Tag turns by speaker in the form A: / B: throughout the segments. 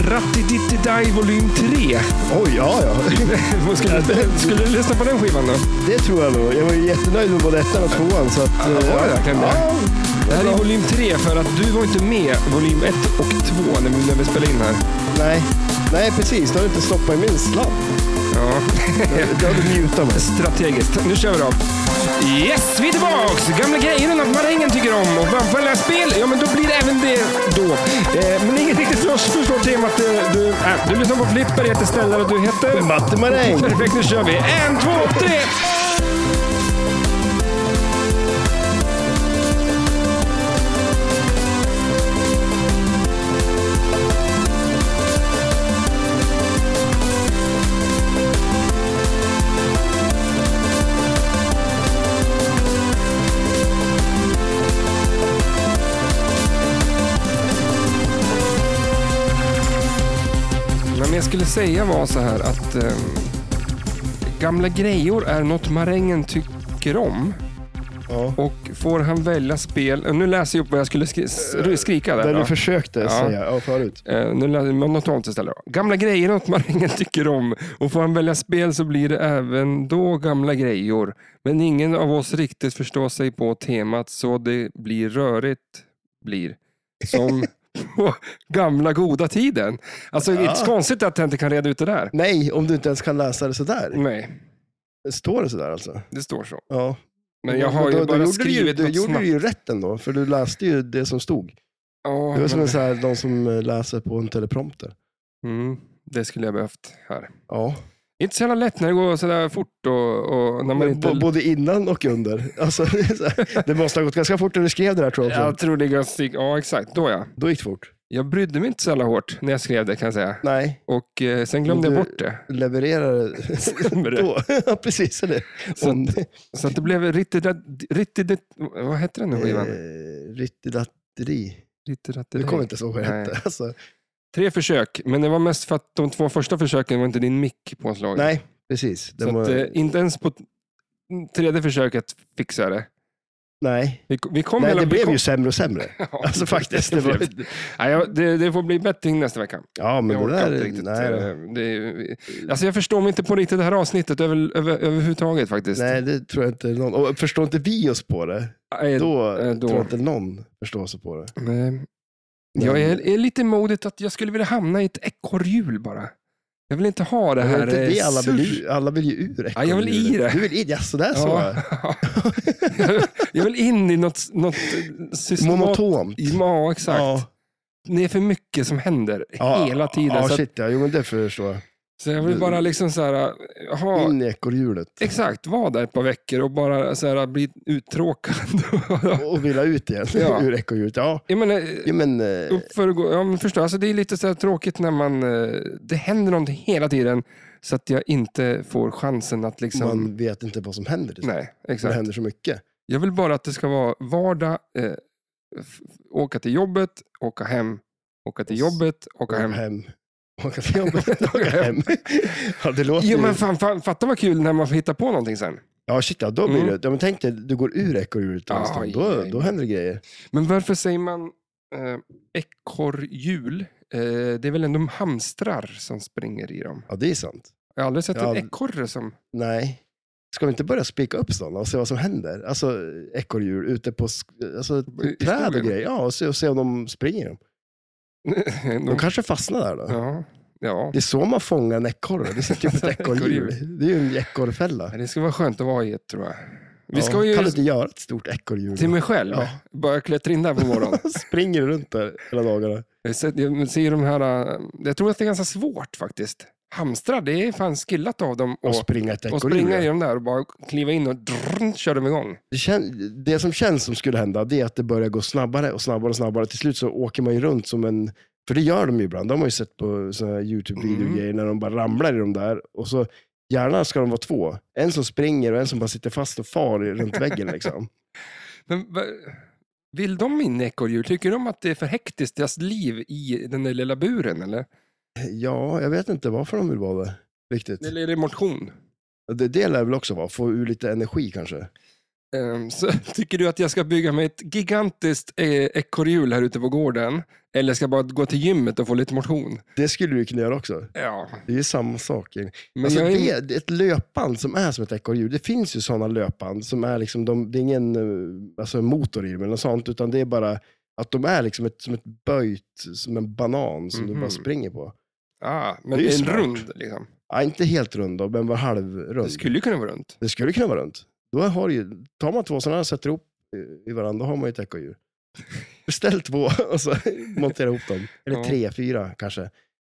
A: Datti-Ditti-Dai volym 3.
B: Oj, ja, ja.
A: skulle, du- skulle du lyssna på den skivan då?
B: Det tror jag nog. Jag var ju jättenöjd med både ettan och tvåan. Så att,
A: Ja,
B: eh,
A: var det verkligen det?
B: Ja,
A: Det här är volym 3 för att du var inte med volym 1 och 2 när vi, när vi spelade in här.
B: nej. nej, precis. Du har inte stoppat i min slapp.
A: Ja,
B: Det har du njutit av.
A: strategiskt. Nu kör vi då. Yes, vi är tillbaks! Gamla grejer och marängen tycker om och vampfälla spel. Ja, men då blir det även det då. Eh, men inget riktigt först- förstår temat. eh, Du, äh, du lyssnar på Flipper, jag heter Stellar och du heter...
B: Matte Maräng.
A: Perfekt, nu kör vi. En, två, tre! Nej, men jag skulle säga var så här att eh, gamla grejor är något marängen tycker om.
B: Ja.
A: Och får han välja spel... eh, Nu läser jag upp vad jag skulle skri s- skrika där.
B: Där
A: då.
B: du försökte
A: Ja.
B: säga ja, förut.
A: Eh, nu läser jag monotont istället. då. Gamla grejer är något marängen tycker om. Och får han välja spel så blir det även då gamla grejor. Men ingen av oss riktigt förstår sig på temat så det blir rörigt. Blir. Som på gamla goda tiden. Alltså, det är inte konstigt att jag inte kan reda ut det där.
B: Nej, om du inte ens kan läsa det sådär.
A: Nej,
B: Det står det sådär alltså?
A: det står så.
B: Ja.
A: Men jag har
B: då,
A: ju
B: då
A: bara
B: gjorde du ju,
A: skrivit
B: Du
A: något
B: gjorde
A: snabbt.
B: ju rätt ändå, för du läste ju det som stod.
A: Ja,
B: Det var som
A: men-
B: en så här, de som eh, läser på en teleprompter.
A: mm, det skulle jag behövt här.
B: Ja.
A: Inte så jävla lätt när det går sådär fort och, och när man
B: Men
A: inte...
B: b- Både innan och under. Alltså, det är så här, det måste ha gått ganska fort när du skrev det här tror jag. också.
A: Jag tror det är ganska... Ja, exakt. Då ja.
B: Då gick det fort.
A: Jag brydde mig inte så jävla hårt när jag skrev det kan jag säga.
B: Nej,
A: Och eh, sen glömde
B: Men
A: jag
B: du-
A: bort det.
B: levererade det
A: Stämmer det?
B: då. Ja, precis. Eller?
A: Så-
B: Om-
A: Så att det blev riktigt... Vad hette den nu
B: eh,
A: skivan?
B: Rittidatteri. Du
A: Rittidatteri.
B: kommer inte så ihåg vad det
A: Nej.
B: hette. Alltså,
A: Tre försök, men det var mest för att de två första försöken var inte din mick påslagen.
B: nej, precis. Det
A: så
B: var,
A: att, eh, inte ens på t- tredje försöket fixade jag det.
B: nej.
A: Vi, vi kom
B: nej,
A: hela...
B: det
A: vi
B: blev
A: kom,
B: ju sämre och sämre.
A: Ja,
B: Alltså faktiskt. Det var,
A: blev- Nej, jag, det, det får bli bättring nästa vecka.
B: ja, men
A: jag
B: det
A: orkar
B: där...
A: inte riktigt.
B: nej, då.
A: eh, det, är- alltså jag förstår mig inte på riktigt det här avsnittet över, över, överhuvudtaget faktiskt.
B: nej, det tror jag inte någon... Och förstår inte vi oss på det,
A: Eh,
B: då,
A: eh, då.
B: tror jag inte någon förstår sig på det.
A: Nej. eh, Jag är, är lite modigt att jag skulle vilja hamna i ett ekorrhjul bara. Jag vill inte ha det
B: Men
A: här
B: inte det
A: eh,
B: alla vill,
A: surr.
B: ju- alla vill ju ur
A: Ja, jag vill i det.
B: Du vill i det? Jaså, där så.
A: Ja. Jag- jag vill in i något, något eh, systematiskt.
B: Monotont.
A: Ja, exakt.
B: Ja,
A: Det är för mycket som händer
B: ja,
A: hela tiden.
B: Ja,
A: så, att,
B: shit ja. Jo, men det förstår jag.
A: så jag vill bara liksom så här, ha,
B: In i ekorrhjulet.
A: exakt, vara där ett par veckor och bara så här, bli uttråkad.
B: Och vilja ut igen
A: Ja.
B: ur ekorrhjulet. Ja.
A: jag menar,
B: ja, men eh,
A: upp för att gå, ja, men förstå, alltså det är lite så här tråkigt när man, eh, det händer någonting hela tiden så att jag inte får chansen att liksom...
B: man vet inte vad som händer. liksom.
A: nej,
B: För det
A: exakt.
B: händer så mycket.
A: Jag vill bara att det ska vara vardag, eh, f- åka till jobbet, åka hem, åka till jobbet, åka hem.
B: hem. Åka till jobbet, åka hem. ja, det låter
A: Jo
B: ju...
A: men fan, fan, fatta vad kul när man får hitta på någonting sen.
B: Ja, shit ja. Då blir
A: Mm.
B: det... Ja, men tänk dig, du går ur ekorrhjulet en
A: Aj,
B: stund. Då,
A: aj,
B: då
A: aj.
B: händer det grejer.
A: Men varför säger man eh, ekorrhjul? Eh, det är väl ändå hamstrar som springer i dem?
B: Ja, det är sant.
A: Jag har aldrig sett
B: Ja,
A: en
B: det-
A: ekorre som...
B: Nej. Ska vi inte börja spika upp sådana och se vad som händer? Alltså ekorrdjur ute på sk- alltså,
A: I- i
B: träd och
A: skogen?
B: grejer. Ja, och se, och se om de springer. De, de kanske fastnar där då.
A: ja, ja.
B: Det är så man fångar en ekorre. Det sitter ju på ett ekorrhjul. Det är ju en ekorrfälla.
A: Ja, Det skulle vara skönt att vara i ett tror jag. Vi
B: Ja,
A: ska
B: Kan du
A: ju
B: inte göra ett stort ekorrhjul?
A: till mig själv
B: Ja.
A: bara klättra in där på morgonen.
B: Springer runt där hela dagarna.
A: Jag ser- Jag ser de här, äh, jag tror att det är ganska svårt faktiskt. Hamstrar, det är fan skillat av dem.
B: Och,
A: Och,
B: springa ett
A: och springa i
B: ekorrhjul.
A: dem där och bara kliva in och drrrn, kör dem igång.
B: Det, kän- det som känns som skulle hända det är att det börjar gå snabbare och snabbare och snabbare. Till slut så åker man ju runt som en... För det gör de ju ibland. De har man ju sett på såna här YouTube-videogrejer när de bara ramlar i de där. Och så Gärna ska de vara två. En som springer och en som bara sitter fast och far i- runt väggen. Liksom.
A: Men va- vill de in i ekorrhjul? Tycker de att det är för hektiskt, deras liv i den där lilla buren eller?
B: Ja, jag vet inte varför de vill vara det. Riktigt.
A: Eller är det motion?
B: Det, det lär väl också vara. Få ur lite energi kanske.
A: Ehm, Så tycker du att jag ska bygga mig ett gigantiskt eh, ekorrhjul här ute på gården? Eller ska jag bara gå till gymmet och få lite motion?
B: Det skulle du kunna göra också.
A: Ja,
B: Det är ju samma sak. egentligen.
A: men
B: Alltså
A: jag är...
B: det, det är ett löpband som är som ett ekorrhjul. Det finns ju sådana löpband som är liksom, de, det är ingen eh, alltså, motor i dem eller något sånt, utan det är bara att de är liksom ett, som ett böjt, som en banan som du
A: Mhm.
B: bara springer på.
A: Ah, men
B: det är
A: det är en
B: smart.
A: rund liksom.
B: Ja, inte helt rund då, men var halvrund.
A: Det skulle ju kunna vara runt.
B: det skulle kunna vara runt. Då har du ju, tar man två sådana och sätter ihop i- i varandra, då har man ju ett ekorrhjul. Beställ två och så montera ihop dem. Eller
A: Ja.
B: tre, fyra kanske. Jag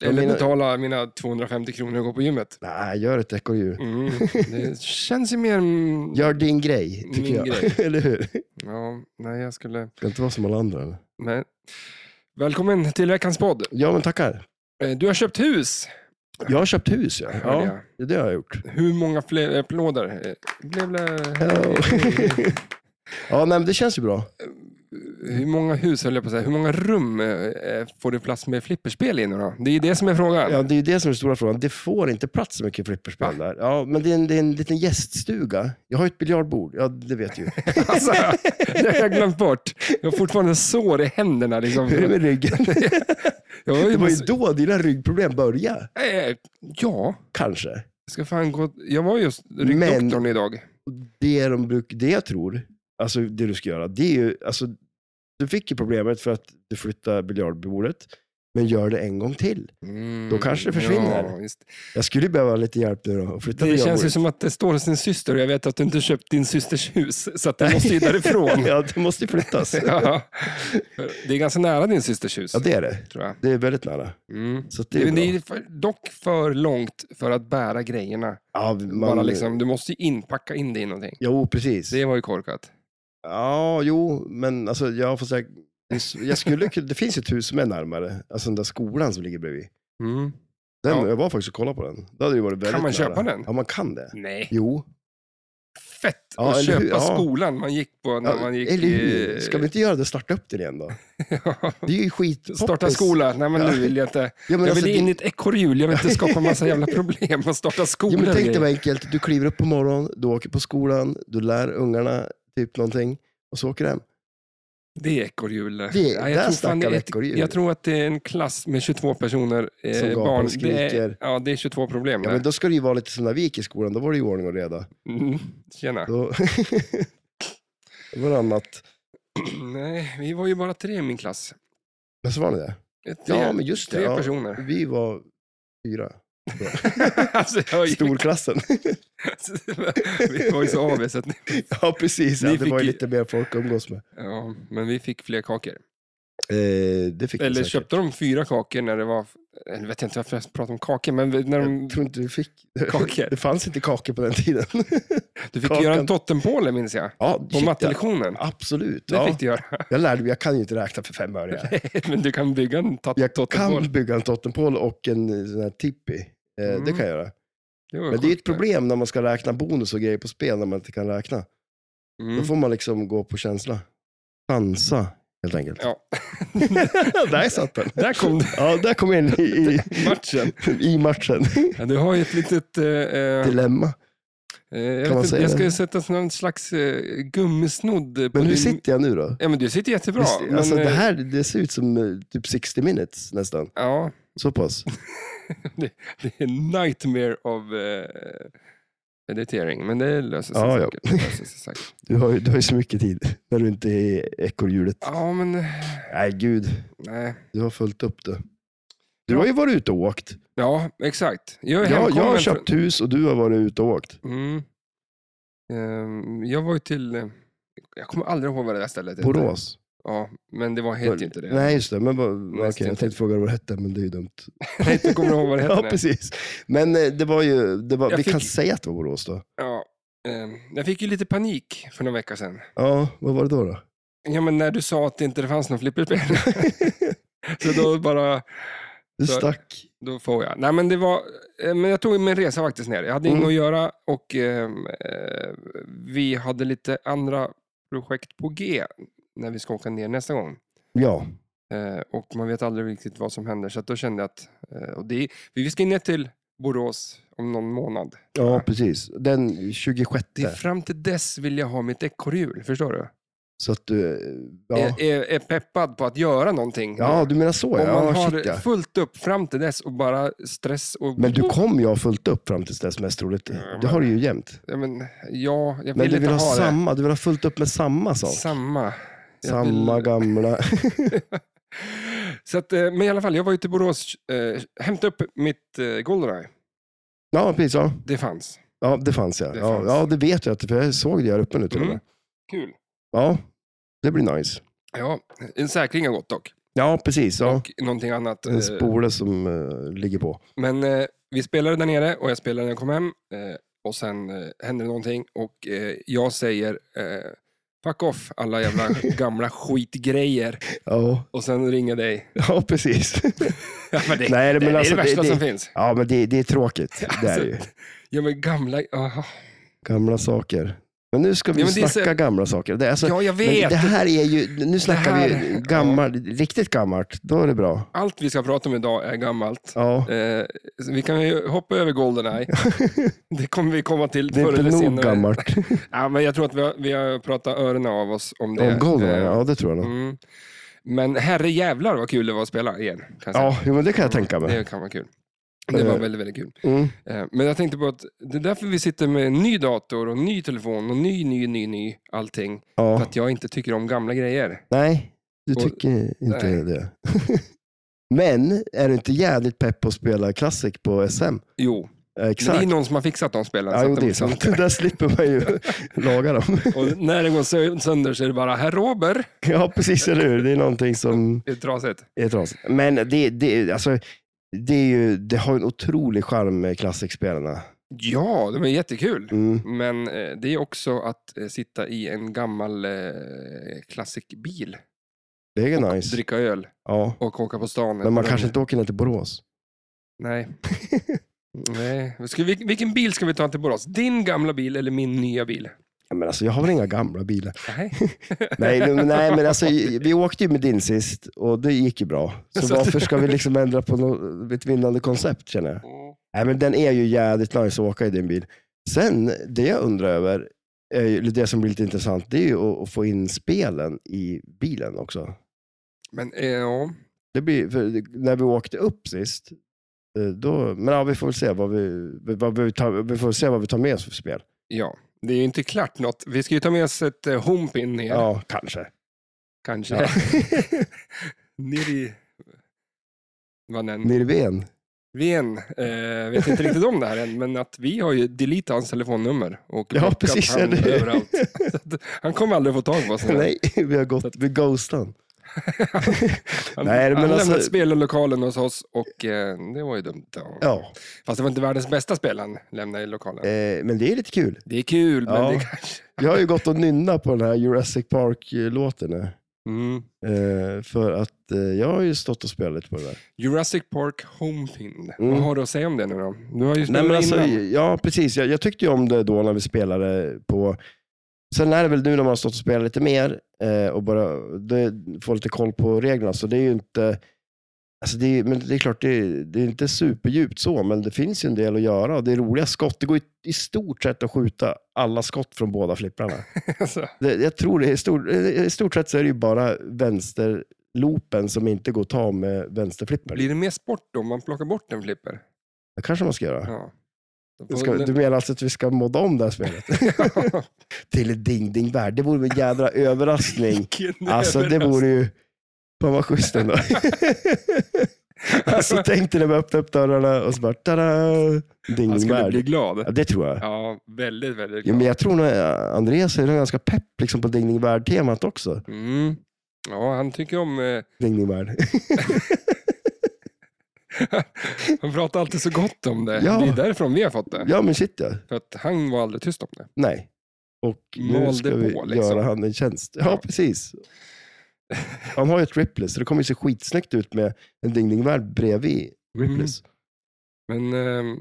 A: Eller
B: menar-
A: betala mina 250 kronor och gå på gymmet.
B: Nej, gör ett ekorrhjul.
A: Mm. Det känns ju mer... mm,
B: Gör din grej, tycker
A: Min
B: jag.
A: grej.
B: eller hur?
A: Ja, nej, jag skulle...
B: Ska inte vara som alla andra. Eller?
A: Nej. Välkommen till veckans podd.
B: Ja, men tackar.
A: Eh, Du har köpt hus,
B: Jag har köpt hus, ja.
A: hörde
B: ja det, är det har jag gjort.
A: jag. Hur många fler applåder? Eh, Gävle-
B: Hello. ja, nej, men det känns ju bra.
A: Hur många hus, höll jag på att säga, hur många rum eh, får du plats med flipperspel i nu då? Det är ju det som är frågan.
B: Ja, det är ju det som är den stora frågan. Det får inte plats så mycket flipperspel där. Ja, men det är, en, det är en liten gäststuga. Jag har ju ett biljardbord, ja det vet du ju.
A: Alltså, det har jag glömt bort. Jag har fortfarande sår i händerna. Liksom.
B: Hur är det med ryggen?
A: Jag har ju
B: Det var ju
A: massa...
B: då dina ryggproblem började,
A: Eh, Ja,
B: kanske.
A: jag ska fan gå... Jag var just ryggdoktorn idag.
B: Det, de bruk, det jag tror, alltså det du ska göra, det är ju, alltså, du fick ju problemet för att du flyttade biljardbordet, men gör det en gång till.
A: Mm,
B: Då kanske det försvinner.
A: Ja, just.
B: Jag skulle behöva lite hjälp nu då, att flytta
A: Det känns ju
B: biljardbordet.
A: som att det står hos din syster och jag vet att du inte köpt din systers hus, så att du måste ju därifrån.
B: ja, det måste ju flyttas.
A: ja. Det är ganska nära din systers hus,
B: Ja, det är det.
A: tror jag.
B: Det är väldigt nära.
A: Mm.
B: Så att det
A: Det
B: är
A: är,
B: bra.
A: det är för, dock för långt för att bära grejerna.
B: Ja, man,
A: Bara liksom, du måste ju inpacka in det i någonting.
B: Jo, precis.
A: Det var ju korkat.
B: Ja, jo, men alltså, jag får säga, jag skulle, kunna- det finns ett hus som är närmare, alltså den där skolan som ligger bredvid.
A: Mm.
B: Den,
A: Ja.
B: Jag var faktiskt och kollade på den. Det hade ju varit väldigt
A: man
B: nära.
A: köpa den?
B: Ja, man kan det.
A: Nej,
B: Jo.
A: fett
B: Ja,
A: att
B: eller
A: köpa
B: hur? Ja.
A: skolan man gick på när
B: Ja,
A: man gick...
B: Eller hur?
A: i-
B: Ska vi inte göra det? Starta upp den igen då. Det är ju skitpoppis.
A: Starta skola. Nej, men
B: Ja.
A: nu vill jag inte...
B: Ja, men
A: Jag
B: alltså,
A: vill in i
B: det,
A: ett ekorrhjul. Jag vill inte skapa massa jävla problem och starta
B: ja,
A: skola.
B: men
A: och
B: tänk dig
A: grejer.
B: vad enkelt. Du kliver upp på morgonen, du åker på skolan, du lär ungarna typ någonting och så åker du hem.
A: Det är ekorrhjul. Det,
B: Det-
A: jag,
B: där
A: tror fan det
B: snackar
A: är
B: vi
A: ett,
B: ekorrhjul.
A: jag tror att det är en klass med 22 personer. Eh,
B: Som gapar och
A: barn. Det är,
B: skriker.
A: ja, det är 22 problem.
B: Ja,
A: där.
B: men då ska det ju vara lite som när vi gick i skolan, då var det ju ordning och reda.
A: Mm, tjena.
B: Då... det var annat.
A: Nej, vi var ju bara tre i min klass.
B: Men så var det det.
A: Tre,
B: Ja, men just det.
A: tre
B: ja.
A: personer.
B: Vi var fyra.
A: alltså, jag var ju-
B: Storklassen.
A: vi var ju så aviga så att ni...
B: ja, precis. Ja,
A: Ni
B: det
A: fick
B: var ju
A: ju-
B: lite mer folk att umgås med.
A: Ja, men vi fick fler kakor.
B: Eh, det fick vi
A: Eller
B: säkert.
A: köpte de fyra kakor när det var... Eller vet jag inte varför jag pratar om kakor, men när de...
B: Jag tror inte vi fick.
A: Kakor.
B: Det fanns inte kakor på den tiden.
A: Du fick
B: kakan.
A: göra en tottenpåle, minns jag.
B: ja,
A: På
B: shit, ja.
A: mattelektionen.
B: Absolut.
A: Det
B: ja.
A: fick du göra.
B: Jag lärde mig, jag kan ju inte räkna för fem öre.
A: men du kan bygga en tot-
B: Jag
A: tottenpåle.
B: kan bygga en totempål och en eh, sån här tippi. Eh,
A: Mm.
B: Det kan jag göra.
A: Det var
B: Men det är ju
A: sjukt.
B: ett problem när man ska räkna bonus och grejer på spel när man inte kan räkna.
A: Mm.
B: Då får man liksom gå på känsla. Chansa, helt enkelt.
A: Ja,
B: där satt den.
A: där kom du.
B: Ja, där kom jag in i, i,
A: matchen.
B: i matchen.
A: Ja, du har ju ett litet... eh, eh,
B: Dilemma.
A: Eh, Jag,
B: man
A: vet, inte,
B: säga
A: jag ska
B: det?
A: ju sätta någon slags eh, gummisnodd på
B: Men hur
A: din...
B: sitter jag nu då?
A: Ja, men du sitter jättebra.
B: Visst,
A: men,
B: alltså, det
A: eh,
B: här det ser ut som eh, typ 60 minutes nästan.
A: Ja,
B: Så pass.
A: det är en nightmare of eh, editering, men det löser sig
B: Ja, ja.
A: säkert. Ja. Det löser sig säkert.
B: Du har, ju- du har ju så mycket tid när du inte är i ekorrhjulet.
A: ja, men eh,
B: Nej, gud.
A: nej.
B: Du har följt upp det. Du har ju varit ute och åkt.
A: Ja, exakt. Jag är
B: Jag,
A: hemkommen
B: jag har
A: från-
B: köpt hus och du har varit ute och åkt.
A: Mm. Ehm, jag var ju till... eh, Jag kommer aldrig ihåg vad det där stället hette.
B: Borås.
A: Ja, men det var helt inte det.
B: Nej, just det. Men, vad-
A: Näst
B: okej, jag
A: intill.
B: tänkte fråga vad det hette, men det är ju dumt.
A: Nej, jag kommer ihåg vad det hette.
B: Ja,
A: nej.
B: precis. Men eh, det var ju, det var,
A: Jag
B: vi
A: fick-
B: kan säga att det var Borås då.
A: Ja, ehm, jag fick ju lite panik för några veckor sedan.
B: Ja, vad var det då? då?
A: Ja, men när du sa att det inte fanns något flipperspel. så då bara,
B: Du
A: Så-
B: stack.
A: då får jag. Nej, men det var, eh, men jag tog min resa faktiskt ner. Jag hade
B: Mm.
A: inget att göra och ehm, eh, vi hade lite andra projekt på G när vi ska åka ner nästa gång.
B: Ja,
A: Eh, och man vet aldrig riktigt vad som händer, så att då kände jag att, eh, och det, vi ska ner till Borås om någon månad.
B: Ja, precis. Den 26.
A: Det är fram till dess vill jag ha mitt ekorrhjul, förstår du?
B: Så att du... eh, Ja,
A: Är, är, är peppad på att göra någonting.
B: ja du menar så
A: Eh, Om man
B: ja.
A: har
B: Shit, ja.
A: fullt upp fram till dess och bara stress och...
B: Men du kommer ju ha fullt upp fram tills dess mest troligt. Det har du ju jämt.
A: Ja, men, ja jag vill
B: Men du
A: inte
B: vill ha
A: ha,
B: samma, du vill ha fullt upp med samma
A: det.
B: sak.
A: Samma. Jag
B: Samma
A: vill-
B: gamla.
A: Så att, eh, men i alla fall, jag var ute i Borås, eh, hämtade upp mitt eh, Goldeneye.
B: Ja, precis. Ja,
A: Det fanns.
B: ja det fanns ja.
A: Det
B: ja.
A: fanns.
B: Ja, det vet jag, att- för jag såg det här uppe nu till och
A: Mm.
B: med.
A: Kul.
B: Ja, det blir nice.
A: Ja, en säkring har gått dock.
B: Ja, precis. Ja.
A: Och någonting annat. eh,
B: En spole som eh, ligger på.
A: Men eh, vi spelade där nere och jag spelade när jag kom hem. Eh, och sen eh, händer det någonting och eh, jag säger eh, fuck off alla jävla gamla skitgrejer.
B: Ja,
A: Och sen ringer dig.
B: ja precis.
A: Ja, men det,
B: Nej, men
A: det,
B: alltså,
A: är det
B: det-
A: värsta
B: det-
A: som finns. alltså-
B: Ja, men det, det är tråkigt. Det är det ju.
A: Ja, men gamla... aha.
B: Gamla saker. Men nu ska vi
A: Ja, men det är så-
B: snacka gamla saker. Det, är alltså,
A: Ja, jag
B: men
A: vet.
B: det här är ju, nu snackar vi
A: här-
B: ju gammal, riktigt gammalt. Då är det bra.
A: Allt vi ska prata om idag är gammalt.
B: Ja,
A: Eh, så vi kan ju hoppa över Goldeneye. det kommer vi komma till
B: det är
A: förr eller
B: inte nog
A: senare.
B: gammalt.
A: Ja, men jag tror att vi har, vi har pratat öronen av oss om det.
B: Om Goldeneye,
A: Eh,
B: ja det tror jag nog.
A: Mm. Men herre jävlar vad kul det var att spela igen. Kan jag säga.
B: Ja, jo, men det kan jag tänka mig.
A: Det kan vara kul. Det var
B: Eh.
A: väldigt, väldigt kul.
B: Mm.
A: Eh, Men jag tänkte på att det är därför vi sitter med en ny dator och ny telefon och ny, ny, ny, ny allting. För
B: Ja.
A: att jag inte tycker om gamla grejer.
B: Nej, du
A: Och-
B: tycker inte
A: nej.
B: det. men är du inte jävligt pepp på att spela Classic på SM?
A: Jo,
B: Eh,
A: men det är
B: Exakt.
A: någon som har fixat de spelen.
B: Ja,
A: så
B: jo,
A: att de
B: det är
A: liksom-
B: sant. Där slipper man ju laga dem.
A: Och när det går sö- sönder så är det bara, herr Robert,
B: ja, precis, eller hur? Det är någonting som...
A: det är trasigt.
B: Det är trasigt. Men det, det, alltså, det, är ju, det har en otrolig charm med klassikspelarna.
A: Ja, de är jättekul.
B: Mm.
A: Men eh, det är också att eh, sitta i en gammal eh, klassikbil
B: Det är
A: och
B: nice.
A: dricka öl
B: Ja.
A: och åka på stan.
B: Men man kanske inte åker ner till Borås.
A: Nej. Nej. Ska vi, vilken bil ska vi ta till Borås? Din gamla bil eller min nya bil?
B: Ja, men alltså, jag har väl inga gamla bilar.
A: Nej.
B: Nej, men- nej men alltså, vi åkte ju med din sist och det gick ju bra. Så,
A: Så-
B: varför ska vi liksom ändra på något, ett vinnande koncept känner jag. Nej, men den är ju jävligt nice att åka i din bil. Sen, det jag undrar över, är ju, eller det som blir lite intressant, det är ju att, att få in spelen i bilen också.
A: Men eh, ja,
B: Det blir, för när vi åkte upp sist, eh, då, men ja, vi får väl se vad vi, vad vi, tar, vi får se vad vi tar med oss för spel.
A: ja, det är ju inte klart något. Vi ska ju ta med oss ett eh, homepin ner,
B: Ja, kanske.
A: kanske.
B: Ja.
A: ner i... Vad den...
B: Nirven.
A: Ven, eh, vet inte riktigt om det här än, men att vi har ju deletat hans telefonnummer och
B: Ja,
A: blockat
B: precis,
A: han
B: eller hur?
A: överallt. Så att Han kommer aldrig få tag på oss.
B: Nej, vi har gått, vi ghostade han.
A: Han,
B: Nej, men
A: han
B: alltså-
A: lämnade spellokalen hos oss och eh, det var ju dumt. Ja.
B: Ja,
A: Fast det var inte världens bästa spel han lämnade i lokalen.
B: eh, men det är lite kul.
A: Det är kul, men
B: Ja.
A: det kanske...
B: Jag har ju gått och nynna på den här Jurassic Park-låten nu.
A: Mm.
B: Eh, för att eh, jag har ju stått och spelat lite på det där.
A: Jurassic Park Homepin.
B: Mm.
A: Vad har du att säga om det nu då? Du har ju
B: Nej,
A: spelat
B: men alltså,
A: innan.
B: ja, precis. Jag, jag tyckte ju om det då när vi spelade på... Sen är det väl nu när man har stått och spelat lite mer eh, och bara det, får lite koll på reglerna, så det är ju inte... Alltså det, är, men det är klart, det är, det är inte superdjupt så, men det finns ju en del att göra. Och det är roliga skott. Det går i, i stort sett att skjuta alla skott från båda flipprarna.
A: Alltså,
B: Det, jag tror det är stor, I stort sett så är det ju bara vänsterloopen som inte går att ta med vänsterflippern.
A: blir det mer sport då om man plockar bort en flipper?
B: Det kanske man ska göra.
A: Ja.
B: Du, ska, du menar alltså att vi ska modda om det här spelet? till ett ding ding värld. Det vore väl en jädra överraskning.
A: Vilken
B: Alltså det
A: överraskning.
B: vore ju... Fan vad schysst ändå. alltså tänk dig när vi öppnar upp dörrarna och så bara tada, ding
A: Han
B: ding
A: skulle bli
B: värld.
A: glad.
B: Ja, det tror jag.
A: Ja, väldigt, väldigt
B: Ja,
A: glad.
B: men jag tror nog eh, Andreas är nog ganska pepp liksom, på ding ding värld-temat också.
A: Mm. Ja, han tycker om... Eh,
B: Ding ding värld.
A: han pratar alltid så gott om det.
B: Ja.
A: Det är därifrån vi har fått det.
B: ja men shit ja.
A: För att han var aldrig tyst om det.
B: Nej. Och nu
A: Malde
B: ska vi
A: på, liksom.
B: göra han en tjänst. Ja,
A: Ja.
B: precis. Han har ju ett Ripley, så det kommer ju se skitsnyggt ut med en ding ding värld bredvid Ripleys.
A: Mm. Men eh,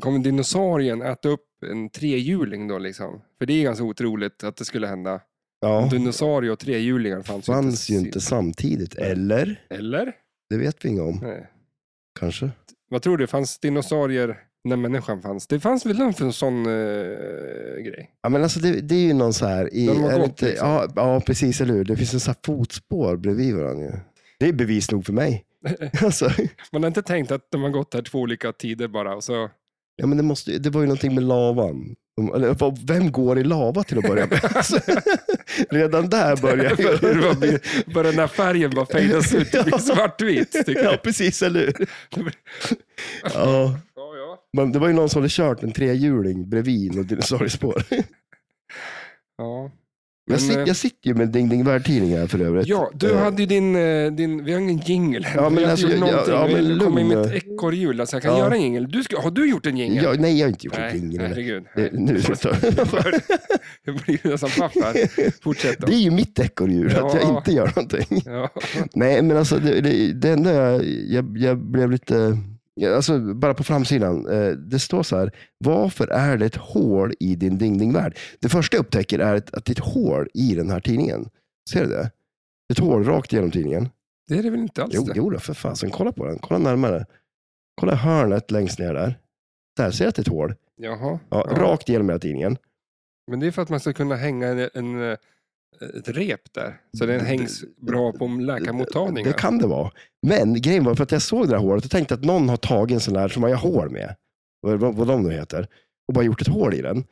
A: kommer dinosaurien äta upp en trehjuling då liksom? För det är ganska otroligt att det skulle hända.
B: Ja.
A: Dinosaurie och trehjulingar fanns,
B: fanns ju inte samtidigt. Eller?
A: Eller?
B: Det vet vi inget om.
A: Nej.
B: Kanske.
A: Vad tror du? Fanns dinosaurier när människan fanns. Det fanns väl en sån eh, grej?
B: Ja, men alltså det, det är ju någon så här... I,
A: De har
B: är det
A: gått,
B: inte,
A: liksom.
B: ja, ja, precis. Eller hur? Det finns en så här fotspår bredvid varandra. ju. Det är bevis nog för mig. alltså,
A: Man har inte tänkt att de har gått här två olika tider bara. Och så...
B: ja, men det, måste, ju- det var ju någonting med lavan. De- Eller, vad- vem går i lava till att börja med? Alltså, redan där börjar
A: Börjar det
B: ju...
A: vara- Bara när färgen bara fejdas ut och blir svartvit. Tycker jag.
B: ja, precis. Eller hur? ja,
A: Ja, ja.
B: men det var ju någon som hade kört en trehjuling bredvid och dinosauriespår.
A: ja.
B: jag, sit,
A: eh,
B: jag sitter ju med Ding Ding Värld-tidningar för övrigt.
A: Ja, du
B: Eh,
A: hade ju din, eh, din vi har ingen jingle. än.
B: Ja, men
A: Vi har inte
B: alltså,
A: gjort
B: ja,
A: någonting.
B: ja, men
A: Vi kommer in med
B: lugn.
A: ett ekorrhjul, alltså jag kan
B: Ja.
A: göra en jingle. Du ska, har du gjort en jingle?
B: ja, nej, jag har inte gjort
A: Nej,
B: en jingle. eller-
A: herregud.
B: Eh, Nu,
A: Jag blir nästan paff här. Fortsätt då.
B: det är ju mitt ekorrdjur, att jag
A: Ja.
B: inte gör någonting.
A: Ja.
B: Nej, men alltså det, det, det enda jag, jag, jag blev lite... ja, Alltså, bara på framsidan. eh, Det står så här. Varför är det ett hål i din dingdingvärld? Det första jag upptäcker är att att det är ett hål i den här tidningen. Ser du det? Ett hål rakt igenom tidningen.
A: Det är det väl inte alls
B: Jo,
A: det?
B: jo då, för fasen. Kolla på den. Kolla närmare. Kolla hörnet längst ner där. Där, ser du att det är ett hål?
A: Jaha.
B: Ja,
A: Ja.
B: Rakt igenom hela tidningen.
A: Men det är för att man ska kunna hänga en, en, eh, ett rep där. Så den
B: Det-
A: hängs bra på läkarmottagningar.
B: Det kan det vara. Men grejen var för att jag såg det här hålet och tänkte att någon har tagit en sån där som man gör hål med. Vad, vad vad de nu heter. Och bara gjort ett hål i den.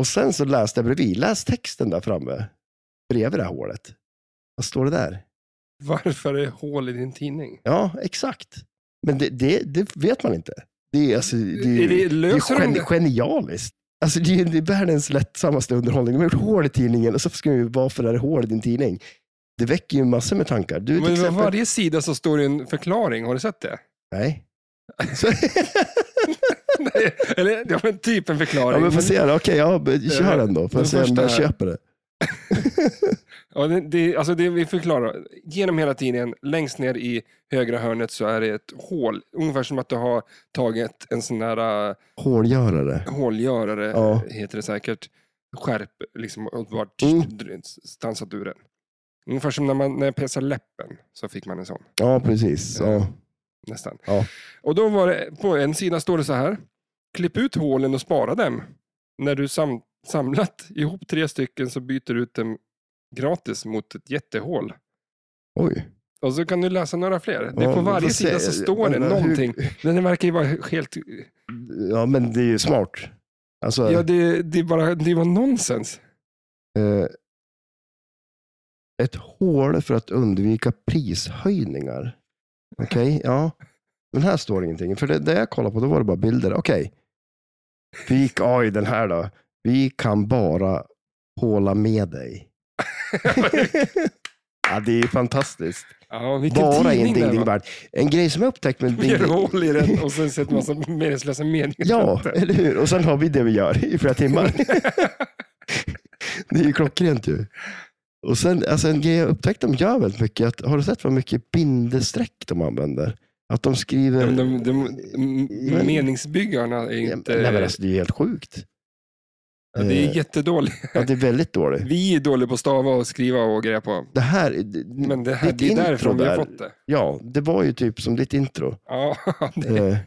B: Och sen så läste jag bredvid. Läs texten där framme. Bredvid det här hålet. Vad står det där?
A: Varför är det hål i din tidning?
B: Ja, exakt. Men det, det, det vet man inte. Det är, alltså, det,
A: Är
B: är,
A: det-
B: det är
A: löser de
B: gen,
A: det?
B: genialiskt. Alltså, det, är, det är världens lättsammaste underhållning. De har gjort hål i tidningen och så ska vi varför är det hål i din tidning? Det väcker ju massor med tankar. Du, till
A: Men på
B: exempel-
A: varje sida så står det en förklaring, har du sett det?
B: Nej. Så,
A: Nej, Eller ja, men typ en förklaring.
B: ja, men får
A: Men-
B: se. då. Okej, ja, men kör den då. Får
A: Den
B: jag se om
A: första
B: jag
A: här.
B: köper det.
A: Ja, det, det, alltså det vi förklarar, genom hela tidningen, längst ner i högra hörnet så är det ett hål. Ungefär som att du har tagit en sån där äh, Eh,
B: Hålgörare.
A: hålgörare,
B: Ja.
A: heter det säkert, skärp, liksom, och bara
B: Mm.
A: dr- stansat ur den. Ungefär som när man när jag pesar läppen, så fick man en sån.
B: Ja, precis.
A: eh.
B: Ja.
A: Nästan.
B: Ja.
A: Och då var det, på en sida står det så här, klipp ut hålen och spara dem. När du sam, samlat ihop tre stycken så byter du ut dem gratis mot ett jättehål.
B: Oj.
A: Och så kan du läsa några fler. Det
B: Ja,
A: är på
B: men
A: varje
B: får se.
A: sida så står det
B: Men, hur-
A: någonting. Men det verkar ju vara helt...
B: Ja, men det är ju smart. Alltså,
A: Ja, det, det är bara det var nonsens.
B: eh, ett hål för att undvika prishöjningar. Okej, ja. Men här står det ingenting. För det, det jag kollade på, då var det bara bilder. Okej. Vi, oj, den här då. Vi kan bara håla med dig. ja, det är ju fantastiskt.
A: Ja, vilken
B: Bara i
A: tidning
B: en
A: det här var.
B: dingdingvärld. En grej som jag upptäckt med
A: Mer
B: ding-
A: hål i den och sen sett massa meningslösa meningar.
B: Ja, eller hur? Och sen har vi det vi gör i flera timmar. det är ju klockrent ju. Och sen, alltså en grej jag upptäckt de gör väldigt mycket, att, har du sett vad mycket bindestreck de använder? Att de skriver...
A: Ja, men de, de, m-
B: Men-
A: meningsbyggarna är
B: Ja,
A: inte...
B: Nej, men alltså, det är ju helt sjukt.
A: ja, det är
B: Eh,
A: jättedåligt.
B: ja, det är väldigt dåligt.
A: Vi är dåliga på att stava och skriva och greja på.
B: Det här,
A: Men det, här,
B: ditt
A: det är
B: intro
A: därifrån vi har
B: där,
A: fått det.
B: Ja, det var ju typ som ditt intro.
A: Ja, det,
B: Eh,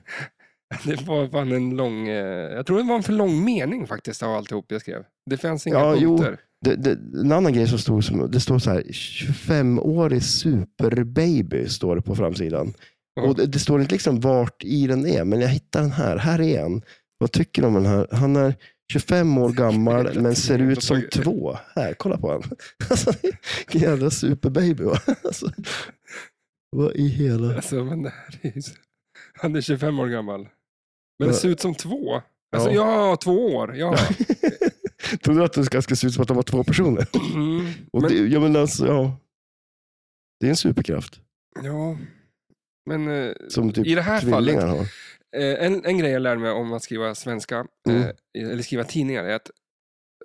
A: det var fan en lång... eh, Jag tror det var en för lång mening faktiskt av alltihop jag skrev. Det fanns inga
B: Ja, jo.
A: punkter.
B: Det, det, en annan grej som stod, som, det står så här, 25-årig superbaby står det på framsidan.
A: Ja.
B: Och det, det står inte liksom vart i den är, men jag hittar den här. Här är en. Vad tycker du om den här? Han är 25 år gammal, men ser ut som två. Här, kolla på honom. Alltså, vilken jävla superbaby. Va? Alltså, vad i hela...
A: Alltså, men det här är ju... så- Han är 25 år gammal. Men det
B: Ja.
A: ser ut som två. Alltså,
B: Ja.
A: ja, två år. Ja.
B: Tror du att det ska, ska se ut som att de var två personer?
A: Mm.
B: Och
A: Men,
B: det, ja, men alltså, ja. det är en superkraft.
A: ja. men eh,
B: Som typ
A: i det här fallet,
B: tvillingar har.
A: eh, en, en grej jag lärde mig om att skriva svenska,
B: Mm.
A: eh, eller skriva tidningar, är att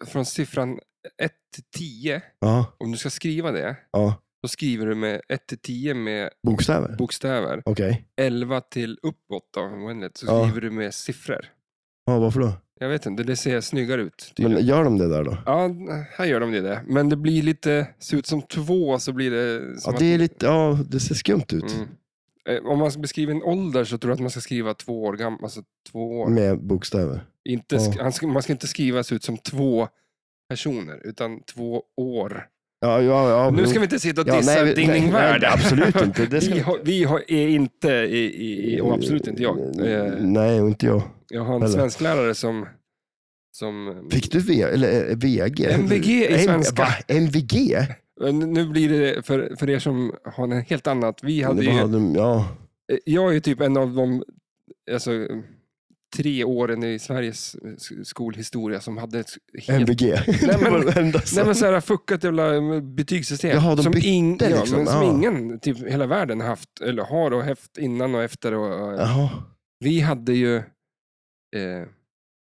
A: från siffran 1 till 10,
B: Ja,
A: om du ska skriva det,
B: ja.
A: då skriver du med 1 till 10 med
B: Bokstäver?
A: bokstäver,
B: Okej. 11.
A: 11 till uppåt då, oändligt, så
B: Ja.
A: skriver du med siffror.
B: Ja, varför då?
A: Jag vet inte, det ser snyggare ut. tydligen.
B: Men gör de det där då?
A: Ja, här gör de det. där. Men det blir lite, ser ut som två så blir det som
B: Ja, det är lite, ja, det ser skumt ut.
A: Mm. Eh, Om man ska beskriva en ålder så tror jag att man ska skriva två år gammal. Alltså två år.
B: Med bokstäver.
A: Inte, sk-
B: Ja.
A: han ska, man ska inte skrivas ut som två personer, utan två år.
B: Ja, ja, ja.
A: Nu
B: jo.
A: ska vi inte sitta och
B: Ja,
A: dissa
B: nej, vi-
A: Dinglingvärld.
B: nej, absolut inte. Det ska
A: vi
B: vi
A: har, vi har, är inte i, i, i, och absolut inte jag. Eh,
B: Nej, och inte jag.
A: Jag har en
B: Eller?
A: svensklärare som... som
B: Fick du v, eller, eh, VG?
A: MVG i
B: M-
A: svenska.
B: Va? MVG?
A: Men Eh, nu blir det för, för er som har en helt annat. Vi hade
B: Vad
A: ju,
B: hade de- ja.
A: Eh, Jag är typ en av de alltså, tre åren i Sveriges eh, sk- skolhistoria som hade ett helt...
B: MVG.
A: Nej, men-
B: det var det enda som-
A: Nej men såhär fuckat jävla eh, betygssystem.
B: Jaha, de
A: som,
B: bytte
A: ing- ja,
B: liksom.
A: men som
B: Ja.
A: ingen, typ hela världen haft, eller har och haft innan och efter. Och, och,
B: Jaha.
A: Vi hade ju eh, eh,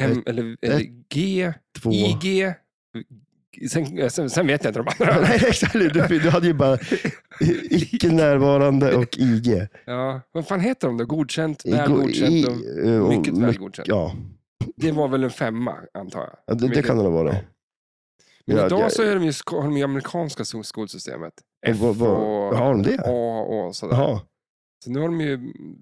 A: M, eller, eller G,
B: Eh, Två.
A: IG, sen, eh, sen, sen vet jag inte de
B: Ja,
A: andra.
B: Nej, exakt. Du, du hade ju bara i- icke närvarande och IG.
A: Ja, vad fan heter de då? Godkänt,
B: I-
A: väl
B: go-
A: godkänt
B: i-
A: och
B: eh, och
A: mycket väl
B: mycket-
A: godkänt.
B: Ja,
A: Det var väl en femma, antar jag.
B: Ja, det, det
A: Mycket-
B: kan det nog vara.
A: Men
B: Ja,
A: idag
B: jag-
A: så är de ju, sk- har de ju amerikanska so- skolsystemet. F
B: Vad- vad-
A: och
B: Har de det?
A: A och sådär.
B: Jaha.
A: Så nu har de ju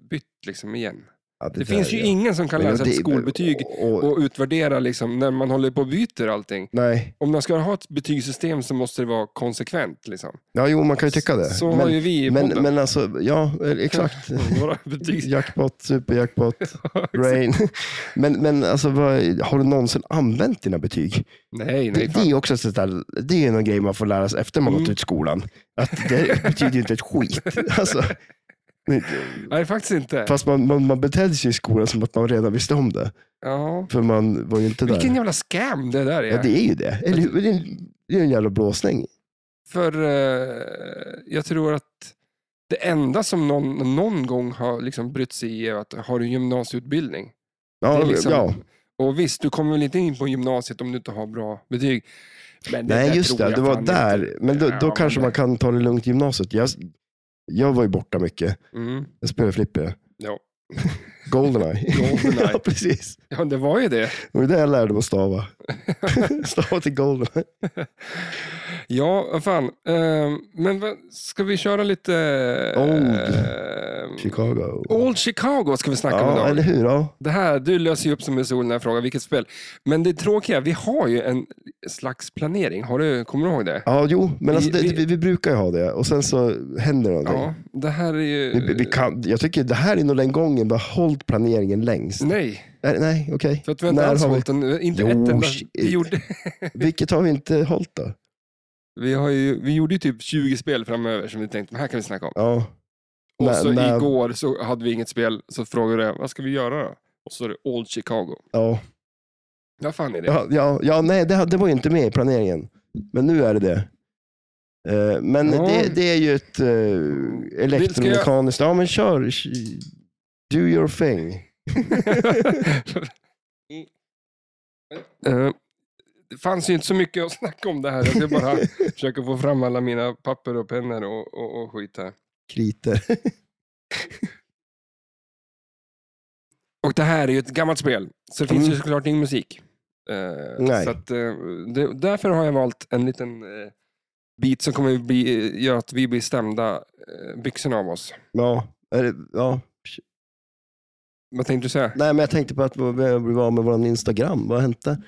A: bytt liksom igen.
B: Ja,
A: Det,
B: där
A: finns ju
B: är-
A: ingen som kan
B: Men
A: läsa
B: det-
A: ett skolbetyg
B: och- och-
A: och utvärdera liksom när man håller på och byter allting.
B: Nej.
A: Om man ska ha ett betygssystem så måste det vara konsekvent. Liksom.
B: Ja, jo, man kan ju tycka det.
A: Så
B: men,
A: har ju vi i
B: men,
A: podden.
B: men alltså, ja, eh, exakt.
A: Våra betygs...
B: Jackpot, superjackpot, rain. Men, men alltså, vad, har du någonsin använt dina betyg?
A: Nej, nej.
B: Det, det
A: Fan.
B: är också så där, det är någon grej man får lära sig efter man
A: Mm.
B: gått ut skolan. Att det betyder ju inte ett skit. Alltså,
A: Nej, faktiskt inte.
B: fast man, man, man betedde sig i skolan som att man redan visste om det.
A: Ja.
B: För man var ju inte där.
A: Vilken jävla scam det där är.
B: Ja, det är ju det. Eller hur? Det är en- det är en jävla blåsning.
A: För eh, jag tror att det enda som någon, någon gång har liksom brytt sig i är att har du gymnasieutbildning? Det
B: Ja,
A: är liksom-
B: ja.
A: Och visst, du kommer väl inte in på gymnasiet om du inte har bra betyg. Men det där
B: Nej, just
A: tror
B: det.
A: jag
B: Det var
A: fan
B: där.
A: inte.
B: Men då,
A: Ja,
B: då
A: men
B: kanske
A: det-
B: man kan ta det lugnt i gymnasiet. Jag, jag var ju borta mycket.
A: Mm,
B: Jag spelade flipper.
A: ja.
B: Goldeneye.
A: Goldeneye.
B: ja, precis.
A: ja, det var ju det.
B: Det var det jag lärde mig att stava. stava till Goldeneye.
A: Ja, vad fan. Eh, men vad, ska vi köra lite...
B: Old
A: eh,
B: Chicago.
A: Old Chicago ska vi snacka om
B: ja,
A: idag.
B: eller hur? Ja.
A: Det här, du löser ju upp som en sol den här frågan, vilket spel. Men det tråkiga, vi har ju en slags planering. Har du, kommer du ihåg det?
B: ja, jo. Men alltså,
A: Vi-
B: det,
A: vi-
B: vi, vi brukar ju ha det. Och sen så händer någonting.
A: Ja, det här är ju...
B: Vi, vi kan, jag tycker det här är nog den gången vi har hållit planeringen längst.
A: Nej,
B: Nej, nej okej.
A: för att vi har inte
B: När
A: alls
B: har vi-
A: hållit den. Inte
B: Jo,
A: ett enda.
B: shit.
A: Vi gjorde,
B: Vilket har vi inte hållit då?
A: vi, har ju, vi gjorde ju typ 20 spel framöver som vi tänkte, men här kan vi snacka om.
B: Ja.
A: Och
B: När-
A: så
B: när-
A: igår så hade vi inget spel, så frågade jag, vad ska vi göra då? Och så är det Old Chicago.
B: Ja.
A: Vad fan är det?
B: Ja, ja, ja nej, det, hade- det var ju inte med i planeringen. Men nu är det det. Eh, Men
A: Ja.
B: det, det är ju ett eh, elektromekaniskt... Ja, men kör. sh- Do your thing.
A: Eh, Det fanns ju inte så mycket att snacka om det här. Jag ska bara försöka få fram alla mina papper och pennor och, och, och skit här.
B: Kriter.
A: Och det här är ju ett gammalt spel, så det finns ju
B: Mm.
A: såklart ingen musik. Eh,
B: Nej.
A: Så att, eh, det, därför har jag valt en liten eh, bit som kommer bli, eh, göra att vi blir stämda eh, byxorna av oss.
B: Ja. är det- ja.
A: Vad tänkte du säga?
B: Nej, men jag tänkte på att vi blev av med vår Instagram. Vad hände?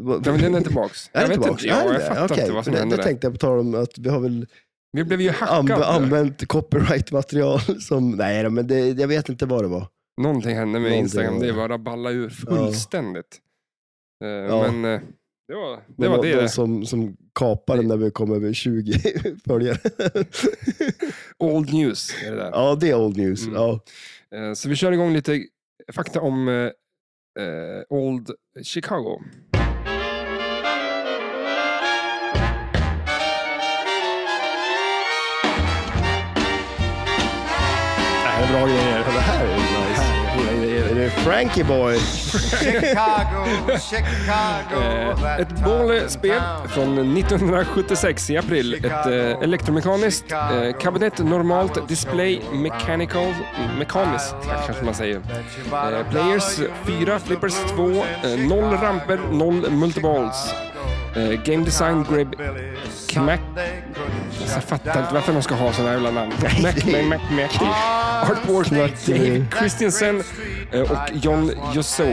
B: Vad-
A: Nej, men den är tillbaks.
B: Är
A: jag
B: det
A: vet
B: tillbaka?
A: inte, ja,
B: Är det
A: jag
B: det?
A: fattar
B: Okej,
A: inte vad som
B: för det,
A: hände
B: det
A: där.
B: tänkte jag på tal om att vi har väl
A: Vi blev ju
B: anv-
A: hackade.
B: använt copyright-material som... Nej, då, men det, jag vet inte vad det var.
A: Någonting hände med
B: Någonting
A: Instagram,
B: hände.
A: det bara ballade ur fullständigt. Eh,
B: Ja.
A: Men eh, det var det.
B: Det
A: Var
B: var
A: det.
B: någon som, som kapade när vi kom över 20 följare.
A: Old news är det där.
B: ja, det är old news.
A: Mm.
B: Ja.
A: Eh, Så vi kör igång lite fakta om eh, eh, Old Chicago. Det här är bra grejer.
B: Ja, det här är nice. Är det Frankie Boy?
C: Chicago, Chicago.
A: Eh, Ett bollspel från 1976 i april. Ett eh, elektromekaniskt, eh, kabinett normalt, display, mechanical, mekaniskt kanske man säger. Eh, players 4, flippers 2, 0 ramper, 0 multiballs. Eh, Game Design Grib... Kmack. Jag fattar inte varför de ska ha sådana jävla namn. Mac, Mac, Mac, Mac. Artwork var Dave Christensen eh, och John Josso.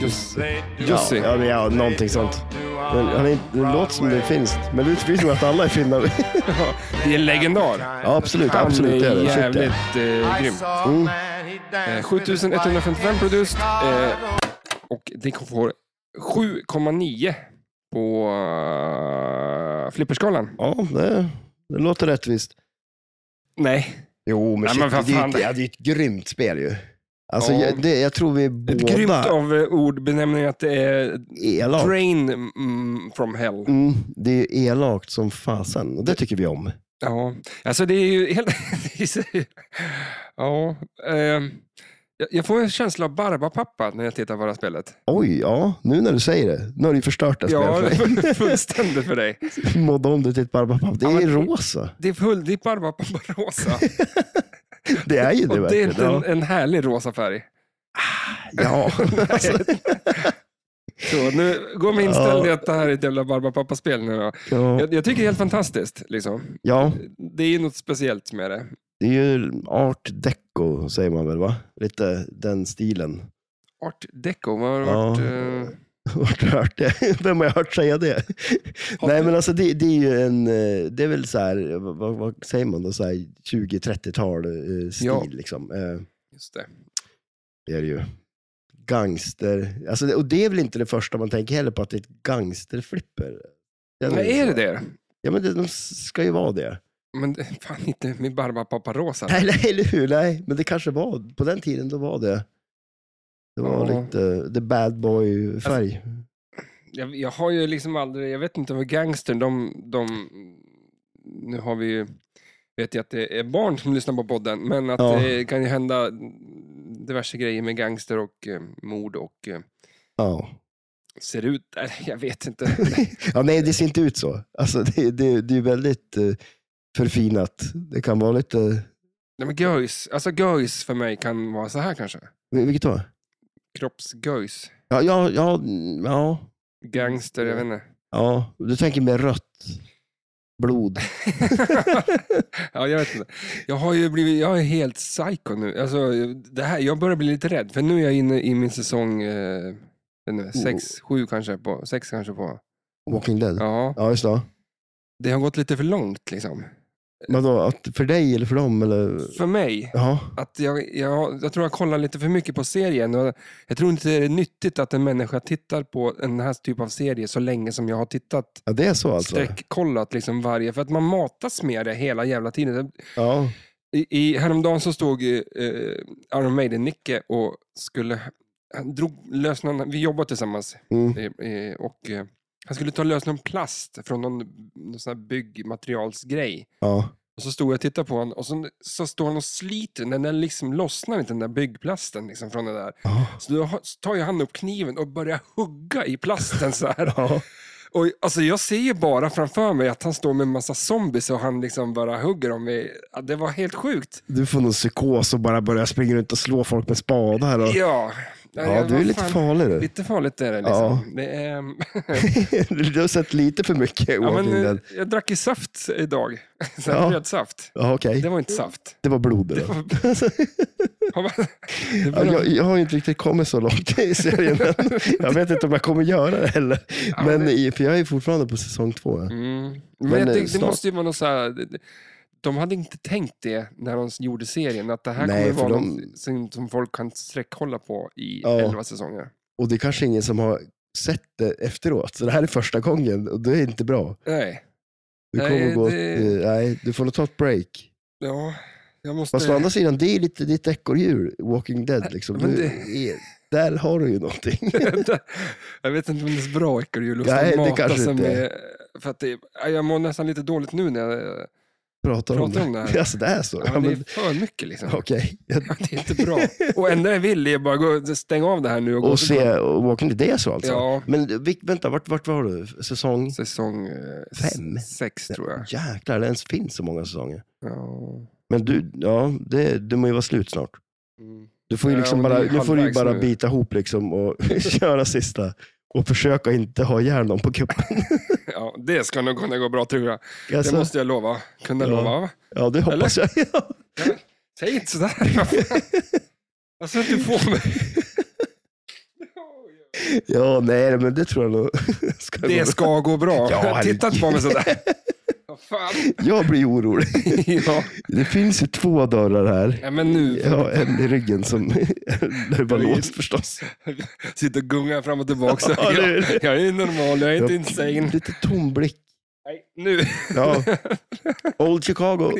A: Jos- Jussi.
B: Ja, men ja, någonting sånt. Men, han är, det låter som det är finskt, men det är som att alla är finnar.
A: Ja, Det är en legendar.
B: ja, absolut.
A: Han eh,
B: absolut det är
A: är
B: det. Shit, ja.
A: jävligt eh, grym. Eh, 7155 produced eh, och det får 7,9 på eh, flipperskalan.
B: Ja, det, det låter rättvist.
A: Nej,
B: Jo, men,
A: Nej,
B: shit,
A: men vad
B: det, är ju
A: fan.
B: ett, ja, det är ett grymt spel ju. Alltså,
A: Ja.
B: jag, det, jag tror vi
A: ett grymt
B: båda
A: av eh, ordbenämningen att det är
B: elakt.
A: Drain mm, from hell.
B: Mm, det är ju elakt som fasen och det tycker vi om.
A: Ja, alltså det är ju helt... ja, ehm, jag- jag får en känsla av Barbapapa när jag tittar på det här spelet.
B: Oj, ja, nu när du säger det. Nu har du ju förstört det
A: Ja,
B: spelet för mig.
A: fullständigt för dig.
B: Modda om det till ett barbapapp. Det
A: Ja,
B: är
A: men-
B: rosa.
A: Det är, full, det är Barbapapa rosa.
B: Det är ju det
A: Och det är
B: verkligen. Ah,
A: inte en, en härlig rosa färg.
B: Ja. ja. Alltså,
A: Så nu går min inställning att det här är ett jävla Barbapapa-spel nu. då.
B: ja.
A: Jag, jag tycker det är helt fantastiskt. Liksom.
B: ja,
A: Det är ju något speciellt med det.
B: det är ju art deco säger man väl va? Lite den stilen.
A: Art deco, vad har det varit?
B: Ja.
A: eh,
B: Vart har du hört det? Vem har jag hört säga det? Nej, men alltså det, det är ju en, eh, det är väl så här, vad, vad- vad säger man då, så här 20-30-tal eh, stil
A: Ja.
B: liksom. Eh,
A: Just det.
B: Det är det ju. Gangster, alltså, det- och det är väl inte det första man tänker heller på, att det är ett gangsterflipper. Jag
A: Men
B: vet inte.
A: är det det?
B: Ja, men det, de ska ju vara det.
A: Men det- fan inte min Barbapapa rosa.
B: Nej, nej, eller hur? Nej, men det kanske var, på den tiden då var det. Det var
A: Ja. Alltså-
B: lite the bad boy-färg.
A: jag, jag har ju liksom aldrig, jag vet inte vad gangstern, de, de, nu har vi ju, vet jag att det är barn som lyssnar på podden, men att
B: Ja.
A: det kan ju hända diverse grejer med gangster och eh, mord och eh,
B: Ja.
A: ser ut, nej, jag vet inte.
B: ja, nej, det ser inte ut så. Alltså, det, det, det är väldigt eh, förfinat. Det kan vara lite,
A: Nej, men göjs, alltså göjs för mig kan vara så här kanske.
B: vil- vilket då?
A: Kroppsgöjs,
B: Ja, ja, ja, mm, ja,
A: gangster, jag vet inte.
B: ja. Du tänker med rött blod.
A: ja, jag vet inte. Jag har ju blivit, jag är helt psycho nu. Alltså, det här, jag börjar bli lite rädd, för nu är jag inne i min säsong eh, jag vet inte, sex, sju kanske, på, sex kanske på.
B: Walking Dead.
A: Ja,
B: Ja, just det.
A: det har gått lite för långt liksom.
B: Men då, att för dig eller för dem? Eller?
A: För mig,
B: Ja.
A: att jag, jag, jag tror jag kollar lite för mycket på serien. Och jag tror inte det är nyttigt att en människa tittar på den här typen av serie så länge som jag har tittat.
B: ja, det är så alltså?
A: Streckkollat liksom varje, för att man matas med det hela jävla tiden.
B: Ja.
A: I, i, häromdagen så stod ju, eh, Iron Maiden-Nicke och skulle... Han drog lös någon, vi jobbade tillsammans
B: Mm.
A: eh, eh, och eh, han skulle ta lös någon plast från någon, någon sån här byggmaterialsgrej.
B: ja.
A: Och så stod jag och tittade på honom och så, så står han och sliter den. Den liksom lossnar inte, den där byggplasten liksom, från det där.
B: Ja.
A: Så då har- så tar ju han upp kniven och börjar hugga i plasten så här.
B: Ja.
A: Och, alltså, jag ser ju bara framför mig att han står med en massa zombies och han liksom bara hugger dem. I, ja, det var helt sjukt.
B: Du får någon psykos och bara börja springa runt och slå folk med spadar. här. Och...
A: Ja, Nej,
B: Ja,
A: vad
B: du är lite
A: fan.
B: farlig du.
A: Lite farligt är det. Liksom.
B: Ja.
A: det är,
B: du har sett lite för mycket
A: ja,
B: Walking
A: men, eh,
B: Dead.
A: jag drack ju saft idag. Så här,
B: Ja.
A: Röd saft.
B: Ja, okej.
A: Det var inte saft.
B: Det var blod.
A: Det
B: Det
A: var, Har man- det
B: Ja,
A: var-
B: jag, jag har ju inte riktigt kommit så långt i serien än. Jag vet inte om jag kommer göra det heller.
A: Ja,
B: Men
A: det-
B: i- för jag är fortfarande på säsong två.
A: Mm. Men,
B: Men,
A: jag
B: eh,
A: tänkte, det
B: snart-
A: måste ju vara något så här... det- det- De hade inte tänkt det när de gjorde serien, att det här
B: Nej,
A: kommer
B: för
A: vara
B: de-
A: något som- som folk kan sträckhålla på i
B: Ja.
A: elva säsonger.
B: Och det är kanske ingen som har sett det efteråt. Så det här är första gången och det är inte bra.
A: Nej.
B: Du
A: Nej,
B: kommer gå...
A: det-
B: eh, Nej, du får nog ta ett break.
A: Ja, jag måste...
B: Fast å andra sidan, det är lite ditt ekorrhjul, Walking Dead. Liksom.
A: Eh. men
B: Du
A: det-
B: är, där har du ju någonting.
A: jag vet inte om det är så bra ekorrhjul att
B: Nej, det
A: mata
B: kanske
A: sig
B: inte
A: med. För att det, ja, jag mår nästan lite dåligt nu när jag...
B: Pratar om
A: Pratar
B: det.
A: om det här.
B: Alltså det är så?
A: Ja,
B: Ja,
A: men det
B: men,
A: är för mycket liksom.
B: Okej.
A: Ja, Det är inte bra. Och enda jag vill är bara gå, och stänga av det här nu och, gå
B: Och se och Walking Dead, det är så alltså?
A: Ja.
B: Men vi- vänta, vart, vart var du? Säsong?
A: Säsong eh, s-
B: Fem?
A: sex tror jag.
B: Jäklar, det ens finns så många säsonger.
A: Ja.
B: Men du, ja, det, det må ju vara slut snart.
A: Mm.
B: Du får ju
A: Ja,
B: liksom
A: men det
B: bara,
A: är
B: nu får du ju
A: halvvägs
B: bara
A: nu.
B: bita ihop liksom och köra sista. och försöka inte ha ihjäl någon på kuppen.
A: Ja, det ska nog kunna gå bra tror jag.
B: Alltså,
A: Det måste jag lova. Kunna
B: Ja.
A: lova. va?
B: Ja, det hoppas jag. Ja.
A: Säg inte sådär. alltså du får mig.
B: ja, nej, men det tror jag nog. Ska gå bra.
A: Det ska gå bra.
B: Ja, herregud.
A: Titta inte på mig sådär. Vad fan.
B: Jag blir orolig.
A: ja.
B: Det finns ju två dörrar här.
A: Nej, men nu
B: Ja, en i ryggen som där är bara låst förstås.
A: sitter och gungar fram och tillbaka.
B: Ja, det är
A: jag,
B: det.
A: jag är normal, jag är inte
B: Ja.
A: insane.
B: Lite tom blick.
A: Nej, nu.
B: Ja. Old Chicago.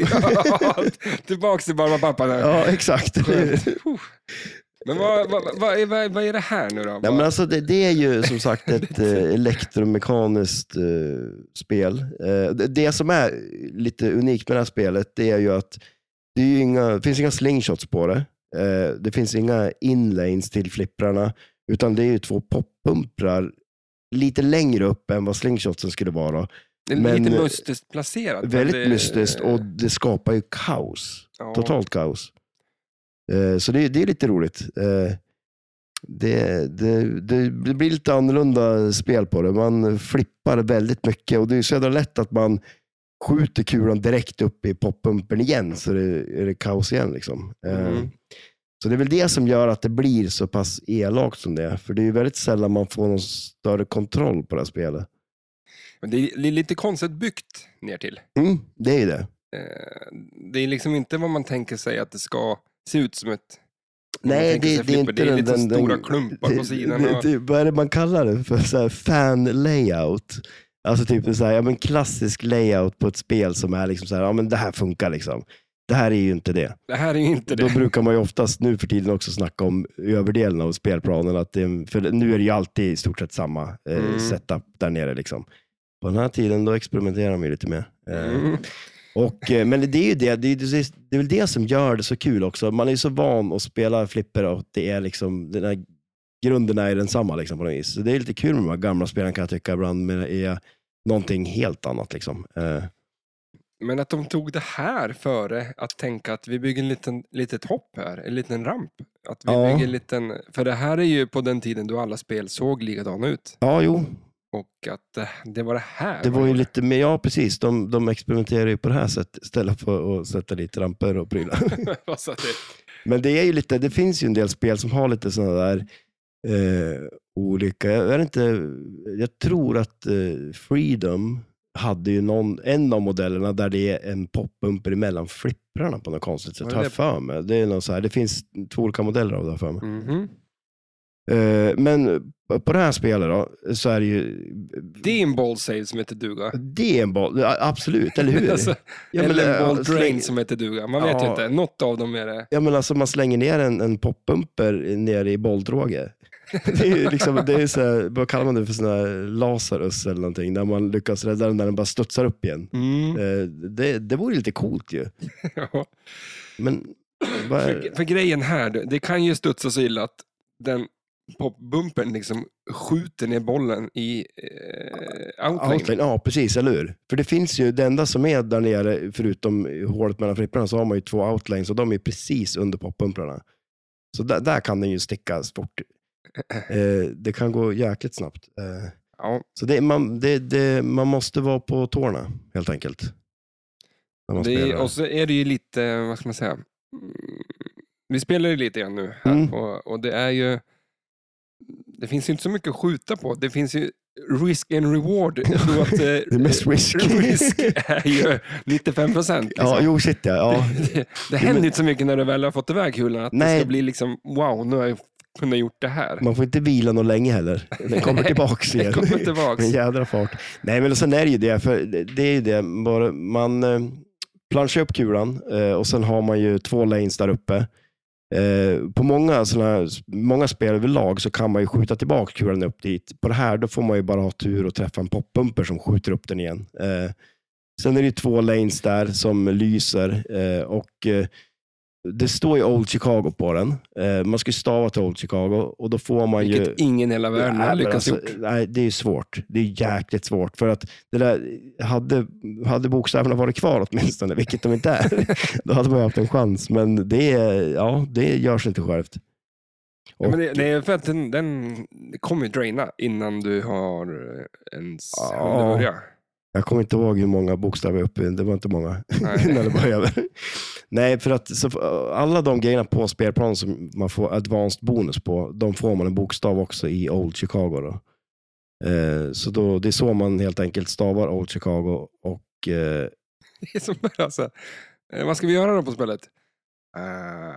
A: Tillbaks till mamma och pappa där.
B: Ja, exakt.
A: Men vad, vad, vad, är, vad, är- vad är det här nu då?
B: Nej, men alltså, det, det är ju som sagt ett eh, elektromekaniskt eh, spel. Eh, det, det som är lite unikt med det här spelet det är ju att det, är ju inga, det finns inga slingshots på det. Eh, det finns inga inlanes till flipprarna, utan det är ju två poppumprar lite längre upp än vad slingshotsen skulle vara.
A: det är lite
B: men-
A: mystiskt placerat. men
B: Väldigt
A: det-
B: mystiskt och det skapar ju kaos.
A: ja.
B: Totalt kaos. Eh, Så det, det är lite roligt. Eh, Det, det, det, det blir lite annorlunda spel på det. Man flippar väldigt mycket och det är så jävla lätt att man skjuter kulan direkt upp i poppumpen igen så det, är det kaos igen. Liksom. Eh,
A: Mm.
B: Så det är väl det som gör att det blir så pass elakt som det är. För det är ju väldigt sällan man får någon större kontroll på det här spelet.
A: Men Det är det är lite konstigt byggt ner till.
B: Mm, det är ju det.
A: Eh, Det är liksom inte vad man tänker sig att det ska se ut som ett... om man
B: Nej,
A: tänker
B: det,
A: sig
B: det är
A: flipper.
B: inte
A: Det är
B: den,
A: lite
B: den, den,
A: stora klumpar på
B: det-
A: sidan.
B: Det,
A: och-
B: det, vad är det man kallar det för? Så här, fan layout. Alltså typ en så här, ja, men klassisk layout på ett spel som är liksom så här, ja men det här funkar liksom. Det här är ju inte det.
A: Det här är ju inte
B: Då
A: det.
B: brukar man ju oftast nu för tiden också snacka om överdelen av spelplanen. Att det, är en- för nu är det ju alltid i stort sett samma eh,
A: Mm.
B: setup där nere. Liksom. På den här tiden då experimenterar de ju lite mer. Eh,
A: Mm.
B: och, eh, men det är ju det, det, är, det är väl det som gör det så kul också. Man är ju så van att spela flipper och det är liksom, den här grunden är densamma liksom, på något vis. Så det är lite kul med de här gamla spelen kan jag tycka ibland, men det är någonting helt annat. Liksom. Eh,
A: Men att de tog det här före att tänka att vi bygger en liten litet hopp här, en liten ramp. Att vi
B: Ja.
A: bygger en liten, för det här är ju på den tiden då alla spel såg likadana ut.
B: ja, jo,
A: Och att eh, det var det här.
B: det
A: man
B: var ju
A: gjorde.
B: lite, men ja precis, de, de experimenterar ju på det här sättet istället för att sätta dit ramper och prylar.
A: alltså att det,
B: Men det är ju lite, det finns ju en del spel som har lite sådana där eh, olika, jag, vet inte, jag tror att eh, Freedom hade ju någon, en av modellerna där det är en poppumper emellan flipprarna på något konstigt sätt,
A: Vad är
B: har
A: det?
B: jag för mig. Det, är någon så här, det finns två olika modeller av det har jag för mig.
A: Mhm.
B: Eh, men på det här spelet då, så är det ju,
A: det är en ball save som heter duga.
B: det är en boll, absolut, eller hur?
A: Alltså,
B: ja, men,
A: Eller en
B: eh,
A: ball
B: släng-
A: drain som heter duga. Man vet ju
B: Ja.
A: inte, något av dem är det.
B: Ja men alltså man slänger ner en, en poppumper nere i bolldråge. Det är ju liksom, det är så här, vad kallar man det för sån här Lazarus eller någonting, där man lyckas rädda den när den bara studsar upp igen.
A: Mm.
B: Eh, Det, det vore ju lite coolt ju.
A: Ja.
B: Men vad är,
A: För, för grejen här, det- det kan ju studsa så illa att den popbumpen liksom skjuter ner bollen i eh, outlane.
B: Outline, ja precis, eller hur? För det finns ju, det enda som är där nere, förutom hålet mellan flipprarna, så har man ju två outlines och de är ju precis under poppumprarna. Så där, där kan den ju sticka fort. Eh, Det kan gå jäkligt snabbt. Eh,
A: Ja,
B: Så det, man, det, det, man måste vara på tårna helt enkelt. När man
A: det är,
B: spelar.
A: och så är det ju lite, vad ska man säga, mm, vi spelar ju lite grann nu här
B: Mm.
A: på, och det är ju, det finns ju inte så mycket att skjuta på. Det finns ju risk and reward. Jag tror att,
B: det är
A: eh,
B: mest risk.
A: risk är ju 95 procent. Liksom.
B: ja, jo shit ja. ja.
A: Det, det, det händer inte så mycket när du väl har fått iväg kulan att det
B: Nej.
A: ska bli liksom, wow, nu har jag kunnat gjort det här.
B: Man får inte vila någon länge heller. Den kommer tillbaks igen.
A: Det kommer tillbaks.
B: Med jädra fart. Nej, men sen är det ju det. För det- det är ju det. Bara man eh, planschar upp kulan eh, och sen har man ju två lanes där uppe. Eh, På många, såna, många spel överlag så kan man ju skjuta tillbaka kulan upp dit. På det här då får man ju bara ha tur och träffa en poppumper som skjuter upp den igen. Eh, Sen är det ju två lanes där som lyser eh, och eh, det står ju Old Chicago på den. Eh, Man ska ju stava till Old Chicago och då får man ju...
A: Vilket ingen i hela världen
B: Nej,
A: har
B: men
A: lyckats
B: alltså,
A: gjort.
B: Nej, det är ju svårt. Det är jäkligt svårt. För att det där, hade, hade bokstäverna varit kvar åtminstone, vilket de inte är, då hade man ju haft en chans. Men det, är- ja, det görs inte självt.
A: Ja, men det, det är för att den, den kommer ju draina innan du har eh, ens
B: Ja.
A: hunnit börja.
B: Jag kommer inte ihåg hur många bokstäver jag uppe i. Det var inte många innan det började. över. Nej, för att så, alla de grejerna på spelplanen som man får advanced bonus på, de får man en bokstav också i Old Chicago. Då. Eh, så då, det är så man helt enkelt stavar Old Chicago. Och, eh,
A: Det är som bara så här, eh, vad ska vi göra då på spelet? Eh,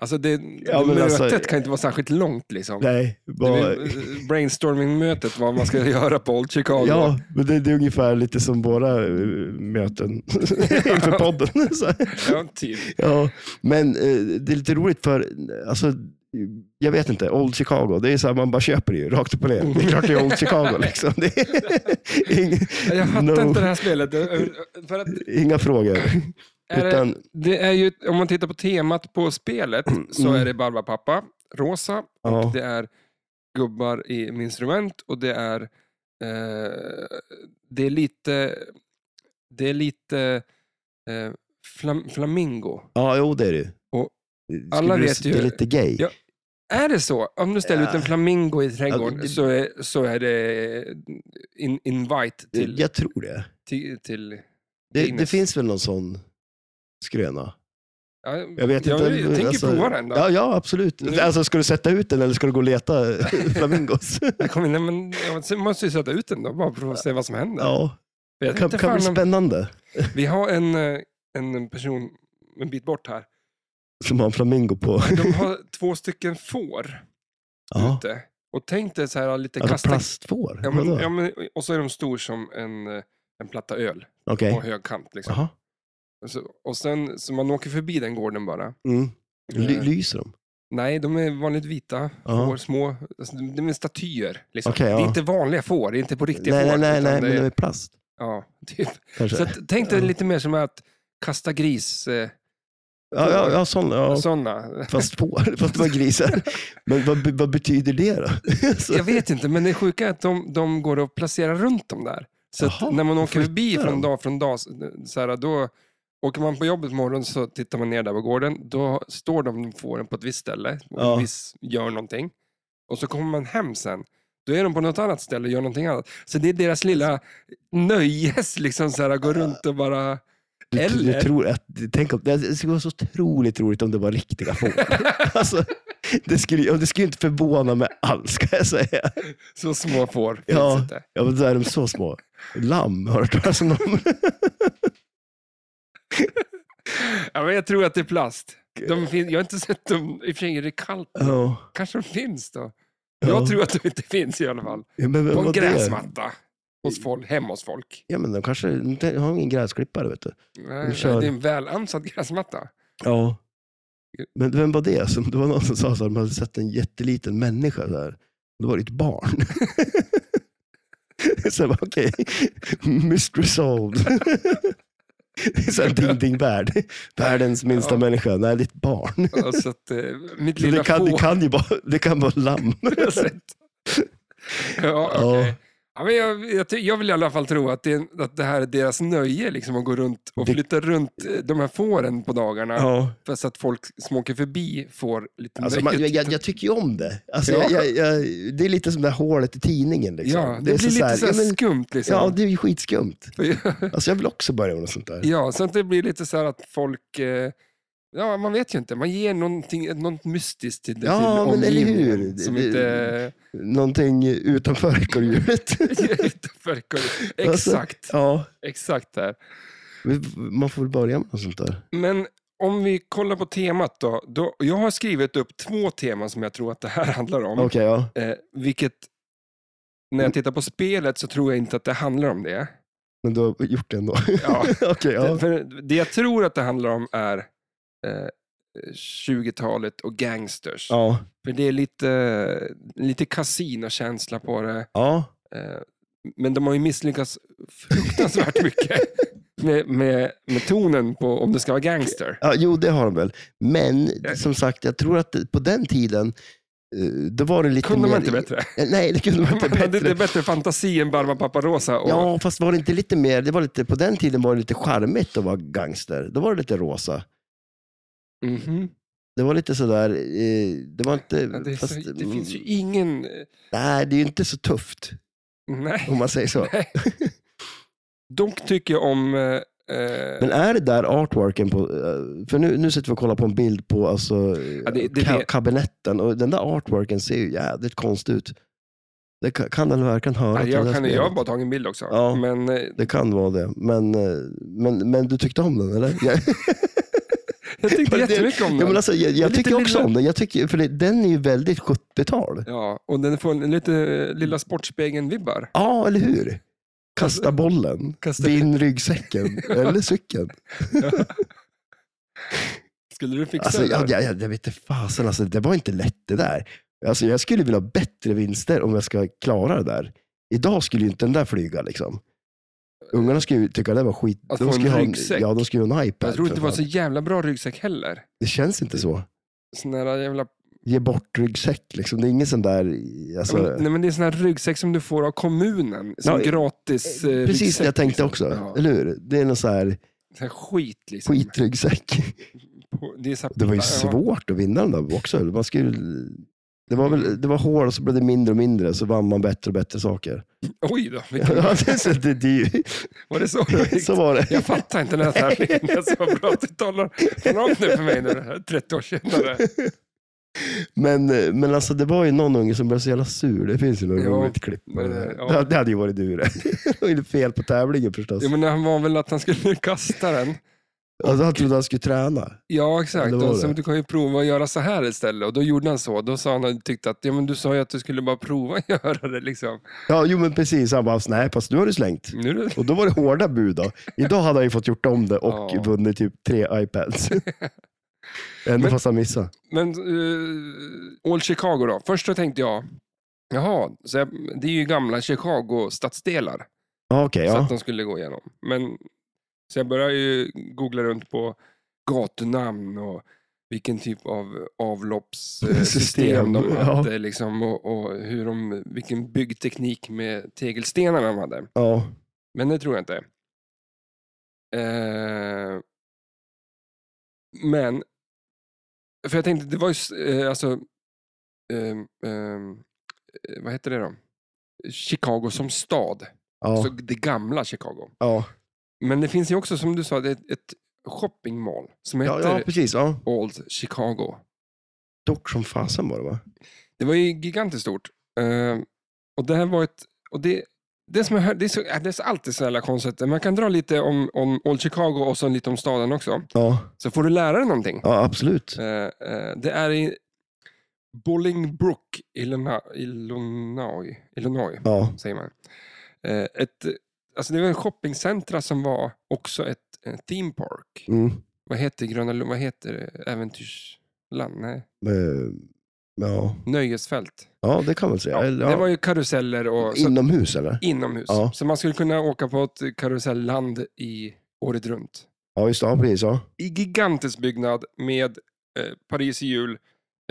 A: alltså det,
B: Ja, men
A: mötet
B: alltså-
A: kan inte vara särskilt långt liksom.
B: nej,
A: Det
B: bara,
A: blir, eh, brainstorming-mötet, vad man ska göra på Old Chicago.
B: ja, men det, det är ungefär lite som våra eh, möten inför podden. så här.
A: Ja, typ.
B: Ja, men eh, det är lite roligt för, eh, alltså, jag vet inte, Old Chicago, det är så här, man bara köper det ju rakt upp och ner. Det är klart det är Old Chicago liksom. Det är ing,
A: Jag fattar
B: no,
A: inte det här spelet. eh, eh, För att
B: Inga frågor.
A: är det,
B: Utan,
A: det är ju, om man tittar på temat på spelet så
B: Mm.
A: är det Barbapapa, rosa,
B: ja,
A: det är gubbar i med instrument och det är eh, det är lite det är lite eh, flam, flamingo.
B: ja, jo det är det ju.
A: Och
B: Skulle
A: alla
B: du
A: vet
B: säga
A: ju-
B: Det är lite gay.
A: Ja, Är det så? Om du ställer
B: Ja.
A: ut en flamingo i trädgården
B: Ja, det-
A: så, är, så är det in, invite till,
B: Jag tror det.
A: till, till
B: Det, det
A: Guinness.
B: finns väl någon sån skröna?
A: ja,
B: Jag vet inte.
A: Jag, tänker
B: alltså,
A: prova den då.
B: Ja, ja, absolut.
A: Nu-
B: Alltså, ska du sätta ut den eller ska du gå och leta flamingos?
A: Jag, kommer, nej, men, jag måste ju sätta ut den då, bara för att se vad som händer.
B: ja,
A: jag vet
B: kan,
A: inte
B: kan bli
A: fan om,
B: spännande.
A: vi har en, eh, en person en bit bort här.
B: Som har en flamingo på.
A: De har två stycken får
B: Ja.
A: ute. Och tänk dig så här lite
B: Alltså
A: kasta...
B: plastfår?
A: Ja, men,
B: Vadå?
A: ja, men, och så är de stor som en, eh, en platta öl
B: Okej.
A: på högkant. Liksom.
B: Jaha.
A: Och Så, och sen, så man åker förbi den gården bara.
B: Mm. Ly-
A: Eh,
B: lyser de?
A: Nej, de är vanligt vita
B: Ja.
A: får, små. Alltså, de de är statyer. Liksom.
B: Okej,
A: Det är
B: ja.
A: inte vanliga får, det är inte på riktiga
B: Nej,
A: får.
B: nej, nej,
A: utan
B: nej,
A: det
B: men de
A: är,
B: är plast.
A: ja, typ.
B: Kanske.
A: Så att, tänk dig lite mer som att kasta gris, eh,
B: ja, ja, ja, sån, ja.
A: Alltså- sådana.
B: Fast får, fast det var grisar. Men vad, be- vad betyder det då? Så-
A: Jag vet inte, men det sjuka är att de, de går att placera runt dem där. Så
B: Jaha,
A: att när man åker
B: flyttar
A: förbi från
B: dem.
A: dag från dag, så här, då åker man på jobbet morgon så tittar man ner där på gården. Då står de fåren på ett visst ställe och
B: Ja.
A: en viss gör någonting. Och så kommer man hem sen. Då är de på något annat ställe och gör någonting annat. Så det är deras lilla nöjes, liksom så här, gå runt och bara...
B: Du, du,
A: Eller?
B: du tror att, tänk om, det skulle vara så otroligt roligt om det var riktiga får. alltså, det, skulle, ja, det skulle inte förvåna mig alls, ska jag säga.
A: Så små får finns
B: Ja.
A: inte.
B: Ja, men då är de så små. Lamm, har du hört talas om dem?
A: Ja, men jag tror att det är plast. De fin- jag har inte sett dem, i och för sig är det kallt.
B: Ja.
A: Kanske de finns då?
B: Ja.
A: Jag tror att de inte finns i alla fall.
B: Ja, men,
A: På en
B: vad det är.
A: gräsmatta. Hos folk, hemma hos folk.
B: Ja, men de kanske de har ingen gräsklippare, vet du.
A: Nej, Det
B: kör.
A: är en välansad gräsmatta.
B: Ja. Men vem var det? Som, det var någon som sa att de hade sett en jätteliten människa där. Det var ditt barn. så jag bara, okej. Mystery solved. Det är så här ding ding värld. Världens minsta
A: Ja.
B: människa. Nej, ditt barn.
A: Ja, Så att, eh, mitt
B: Så det,
A: lilla
B: kan, det
A: får
B: kan ju bara, det kan vara lamm.
A: har jag sett. Ja,
B: Ja.
A: okej. ja, men jag, jag, ty- jag vill i alla fall tro att det, att det här är deras nöje, liksom, att gå runt och
B: Det-
A: flytta runt eh, de här fåren på dagarna.
B: Ja.
A: För så att folk som åker förbi får lite
B: Alltså, man,
A: nöje.
B: jag, jag, jag tycker ju om det. Alltså,
A: Ja.
B: jag, jag, jag, det är lite som det här hålet i tidningen. Liksom.
A: ja, det,
B: är
A: blir lite så
B: här, ja, men-
A: skumt. Liksom.
B: Ja, det är ju skitskumt. Alltså, jag vill också börja med något sånt där.
A: Ja, så att det blir lite så här att folk... eh, Ja, man vet ju inte. Man ger någonting, något mystiskt till,
B: Ja,
A: till
B: men eller hur?
A: omgivningen Som
B: Det-
A: inte
B: Någonting utanför ekorrhjulet.
A: utanför korridoren. Exakt,
B: Alltså, ja,
A: exakt där.
B: vi- man får väl börja med något sånt där.
A: Men om vi kollar på temat då, då. Jag har skrivit upp två teman som jag tror att det här handlar om.
B: Okej, Mm. ja.
A: Eh, vilket, när jag tittar på spelet så tror jag inte att det handlar om det.
B: Men du har gjort det ändå.
A: Ja.
B: Okej, ja.
A: Det, för det jag tror att det handlar om är eh, 20-talet och gangsters.
B: Ja.
A: För det är lite, lite kasinokänsla på det.
B: ja.
A: Eh, Men de har ju misslyckats fruktansvärt mycket med, med, med tonen på om det ska vara gangster.
B: Ja, jo, det har de väl. Men
A: Ja.
B: som sagt, jag tror att det- på den tiden, eh, då var det lite
A: Kunde
B: mer...
A: man inte bättre?
B: Eh, Nej, det kunde man inte
A: Man hade
B: bättre.
A: inte bättre fantasi än Barba Paparosa. Och,
B: Ja, fast var det inte lite mer, det var lite, på den tiden var det lite charmigt att vara gangster. Då var det lite rosa.
A: Mhm.
B: Det var lite sådär, eh, det var inte...
A: Ja, det, är
B: fast,
A: så, det
B: mm,
A: finns ju ingen...
B: Nej, det är ju inte så tufft,
A: Nej.
B: om man säger så.
A: Nej. Dock tycker jag om... eh, eh,
B: Men är det där artworken på, eh, för nu, nu sitter vi och kollar på en bild på alltså,
A: Ja, det- det-
B: ka-
A: det-
B: kabinetten och den där artworken ser ju jävligt konstig ut. Det kan, kan den verkligen höra
A: nej,
B: till det
A: jag,
B: här
A: kan, jag har
B: spelet?
A: bara tagit en bild också.
B: Ja.
A: Men eh,
B: Det kan vara det, men, eh, men, men du tyckte om den eller?
A: jag
B: Jag,
A: tyckte
B: Det-
A: jättemycket om
B: ja, men
A: den.
B: alltså, jag,
A: är
B: jag
A: lite
B: tycker också
A: lilla-
B: om den, jag tycker, för det, den är ju väldigt 70-tal.
A: Ja, och den får en lite eh, Lilla Sportspegeln-vibbar.
B: Ja, eller hur?
A: Alltså,
B: Kasta bollen,
A: Kasta-
B: vinn ryggsäcken eller cykeln.
A: Skulle du fixa
B: Alltså,
A: det?
B: jag,
A: där?
B: jag, jag, jag vet inte fasen, alltså, det var inte lätt det där. Alltså, jag skulle vilja ha bättre vinster om jag ska klara det där. Idag skulle ju inte den där flyga. Liksom. Ungarna skulle ju tycka det var skit.
A: Att få en
B: skulle ha
A: ryggsäck.
B: Ja, de skulle ju ha en iPad.
A: Jag tror
B: för
A: inte det var
B: fan.
A: så jävla bra ryggsäck heller.
B: det känns inte så.
A: Sån där jävla...
B: Ge bort ryggsäck, liksom. det är ingen sån där... Alltså,
A: Ja, men, eh, nej, men det är sån här ryggsäck som du får av kommunen. Som
B: Ja,
A: gratis eh,
B: precis
A: ryggsäck,
B: det jag tänkte
A: liksom.
B: också,
A: Ja,
B: eller hur? Det är någon sån här
A: sån här skit liksom.
B: skitryggsäck.
A: På- Det, är så här,
B: Det var ju
A: Ja.
B: svårt att vinna den där också. Man skulle, det, var väl, det var hål och så blev det mindre och mindre, så vann man bättre och bättre saker.
A: Oj då, vilken...
B: Ja, det, är så- det, det, är
A: var det så?
B: ju- så var det.
A: Jag fattar inte den här tävlingen. Det är så bra att du talar, talar om det för mig nu, det här 30 år senare.
B: Men, men alltså, det var ju någon unge som blev så jävla sur. Det finns ju något
A: Ja,
B: roligt klipp. på
A: men, eh,
B: det där.
A: ja.
B: Det hade ju varit du det. Det var ju fel på tävlingen förstås.
A: Ja, men han var väl att han skulle kasta den.
B: Alltså, han trodde han skulle träna.
A: Ja,
B: Ja,
A: exakt.
B: det var
A: Och så,
B: det.
A: du kan ju prova att göra så här istället. Och då gjorde han så. Då sa han att tyckte att ja, men du sa ju att du skulle bara prova att göra det. Liksom.
B: Ja, jo men precis. Han bara, nej fast nu har du slängt.
A: Nu är det...
B: Och då var det hårda bud då. Idag hade han ju fått gjort om det och
A: Ja.
B: vunnit typ tre iPads. Ändå
A: Men-
B: fast han missade.
A: Men eh, All Chicago då. Först så tänkte jag, jaha, så jag, det är ju gamla Chicago stadsdelar.
B: Ja, Okej,
A: Så
B: ja.
A: att de skulle gå igenom. Men, så jag började ju googla runt på gatunamn och vilken typ av avloppssystem
B: System,
A: system de
B: ja.
A: hade. Liksom, och, och hur de, vilken byggteknik med tegelstenarna de hade.
B: ja.
A: Men det tror jag inte. Eh, men, för jag tänkte, det var ju, s- eh, alltså, ehm, ehm, eh, vad heter det då? Chicago som stad,
B: Ja,
A: så det gamla Chicago.
B: ja.
A: Men det finns ju också, som du sa, det är ett, ett shoppingmall som heter
B: ja, ja precis. Ja.
A: Old Chicago.
B: Stort som fasen var det va?
A: Det var ju gigantiskt stort. Eh, och det här var ett... Och det, det, som jag hör, det, är så, äh, det är så alltid så jävla konstigt. Man kan dra lite om, om Old Chicago och så lite om staden också.
B: Ja,
A: Så får du lära dig någonting.
B: ja absolut.
A: Eh, eh, det är i Bolingbrook, Illinois, Illinois, Illinois
B: Ja,
A: säger man. Eh, ett, alltså det var en shoppingcentra som var också ett eh, theme park.
B: mm.
A: Vad heter Gröna Lund? Vad heter det? Äventyrsland? Nej.
B: Men, Eh, ja.
A: Nöjesfält.
B: ja, det kan man säga.
A: Ja,
B: Eller,
A: Det var
B: ja.
A: ju karuseller och så
B: Inomhus eller?
A: Inomhus.
B: Ja.
A: Så man skulle kunna åka på ett karusellland i året runt.
B: Ja, just det. Ja, precis. Ja.
A: I gigantisk byggnad med eh, Paris i jul,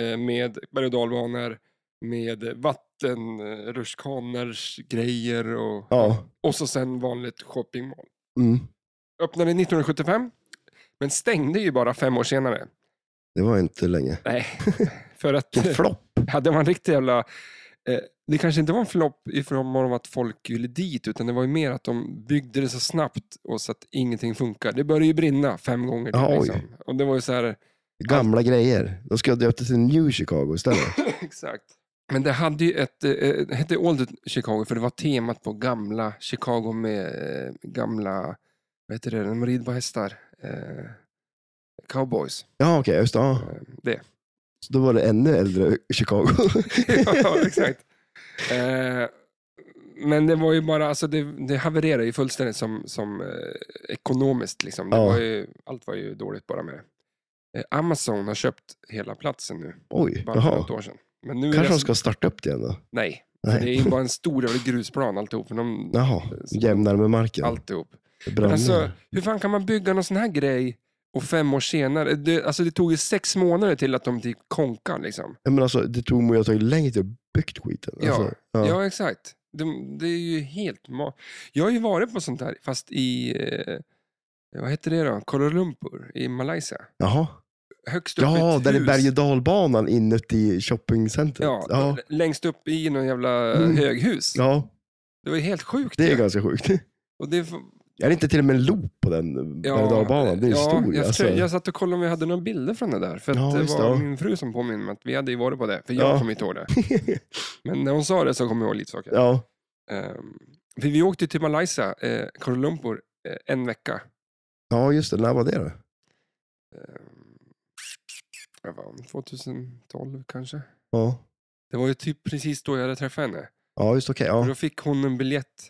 A: eh, med berg och dalbanor, med vattenrutschkanor, grejer och,
B: ja.
A: och så sen vanligt shoppingmall.
B: Mm.
A: Öppnade 1975, men stängde ju bara fem år senare.
B: Det var inte länge.
A: Nej, för att
B: Vilken flopp.
A: ja, det var en riktig jävla... Eh, det kanske inte var en flopp i form av att folk ville dit, utan det var ju mer att de byggde det så snabbt och så att ingenting funkar. Det började ju brinna fem gånger. till,
B: Ja, oj.
A: liksom. Och det var ju så här,
B: Gamla grejer. De ska jag döpa till New Chicago istället.
A: exakt. Men det hade ju ett, eh, det hette Old Chicago, för det var temat på gamla Chicago med eh, gamla, vad heter det, de rider på hästar. Eh, cowboys.
B: Ja, okej. just det. Ja.
A: Eh, det.
B: Så då var det ännu äldre Chicago.
A: ja, exakt. Eh, men det var ju bara, alltså det, det havererade ju fullständigt som, som eh, ekonomiskt. Liksom. Det
B: Ja.
A: var ju, allt var ju dåligt bara med det. Eh, Amazon har köpt hela platsen nu,
B: Oj,
A: bara för något
B: jaha.
A: år sedan. Men nu är
B: Kanske
A: det, alltså,
B: de ska starta upp det igen då?
A: Nej, för det är
B: Nej.
A: ju bara en stor jävla grusplan alltihop. För de, eh,
B: Jaha, jämnare med marken.
A: alltihop.
B: Bränner.
A: Alltså, hur fan kan man bygga någon sån här grej och fem år senare, det, alltså det tog ju sex månader till att de typ konkade. Liksom.
B: Ja, men alltså, det tog mig att ta längre tid att byggt skiten.
A: Ja,
B: Alltså,
A: Ja, exakt. De, det är ju helt... Ma- jag har ju varit på sånt här, fast i... Eh, vad heter det då? Kuala Lumpur i Malaysia.
B: Jaha.
A: högst upp i
B: Ja,
A: ett
B: där är
A: hus.
B: berg och dalbanan inuti shoppingcentret.
A: Ja,
B: ja.
A: längst upp i någon jävla eh,
B: Mm.
A: höghus.
B: ja,
A: Det var ju helt sjukt.
B: det är
A: ju.
B: ganska sjukt.
A: och det, var-
B: Är det inte till och med en loop på den berg och dalbanan? Det är ju
A: ja,
B: stor.
A: jag,
B: alltså.
A: försökte- jag satt och kollade om vi hade några bilder från det där. För att
B: Ja,
A: det
B: just
A: var
B: det, ja.
A: min fru som påminde mig att vi hade ju varit på det. För jag
B: Ja.
A: kommer inte ihåg det. Men när hon sa det så kom jag ihåg lite saker.
B: ja.
A: Ehm, för vi åkte till Malaysia, eh, Kuala Lumpur, eh, en vecka.
B: ja, just det. När var det då?
A: Ehm, vad var hon? 2012 kanske?
B: Ja,
A: Det var ju typ precis då jag hade träffat henne.
B: ja just okej.
A: Och
B: ja.
A: Då fick hon en biljett,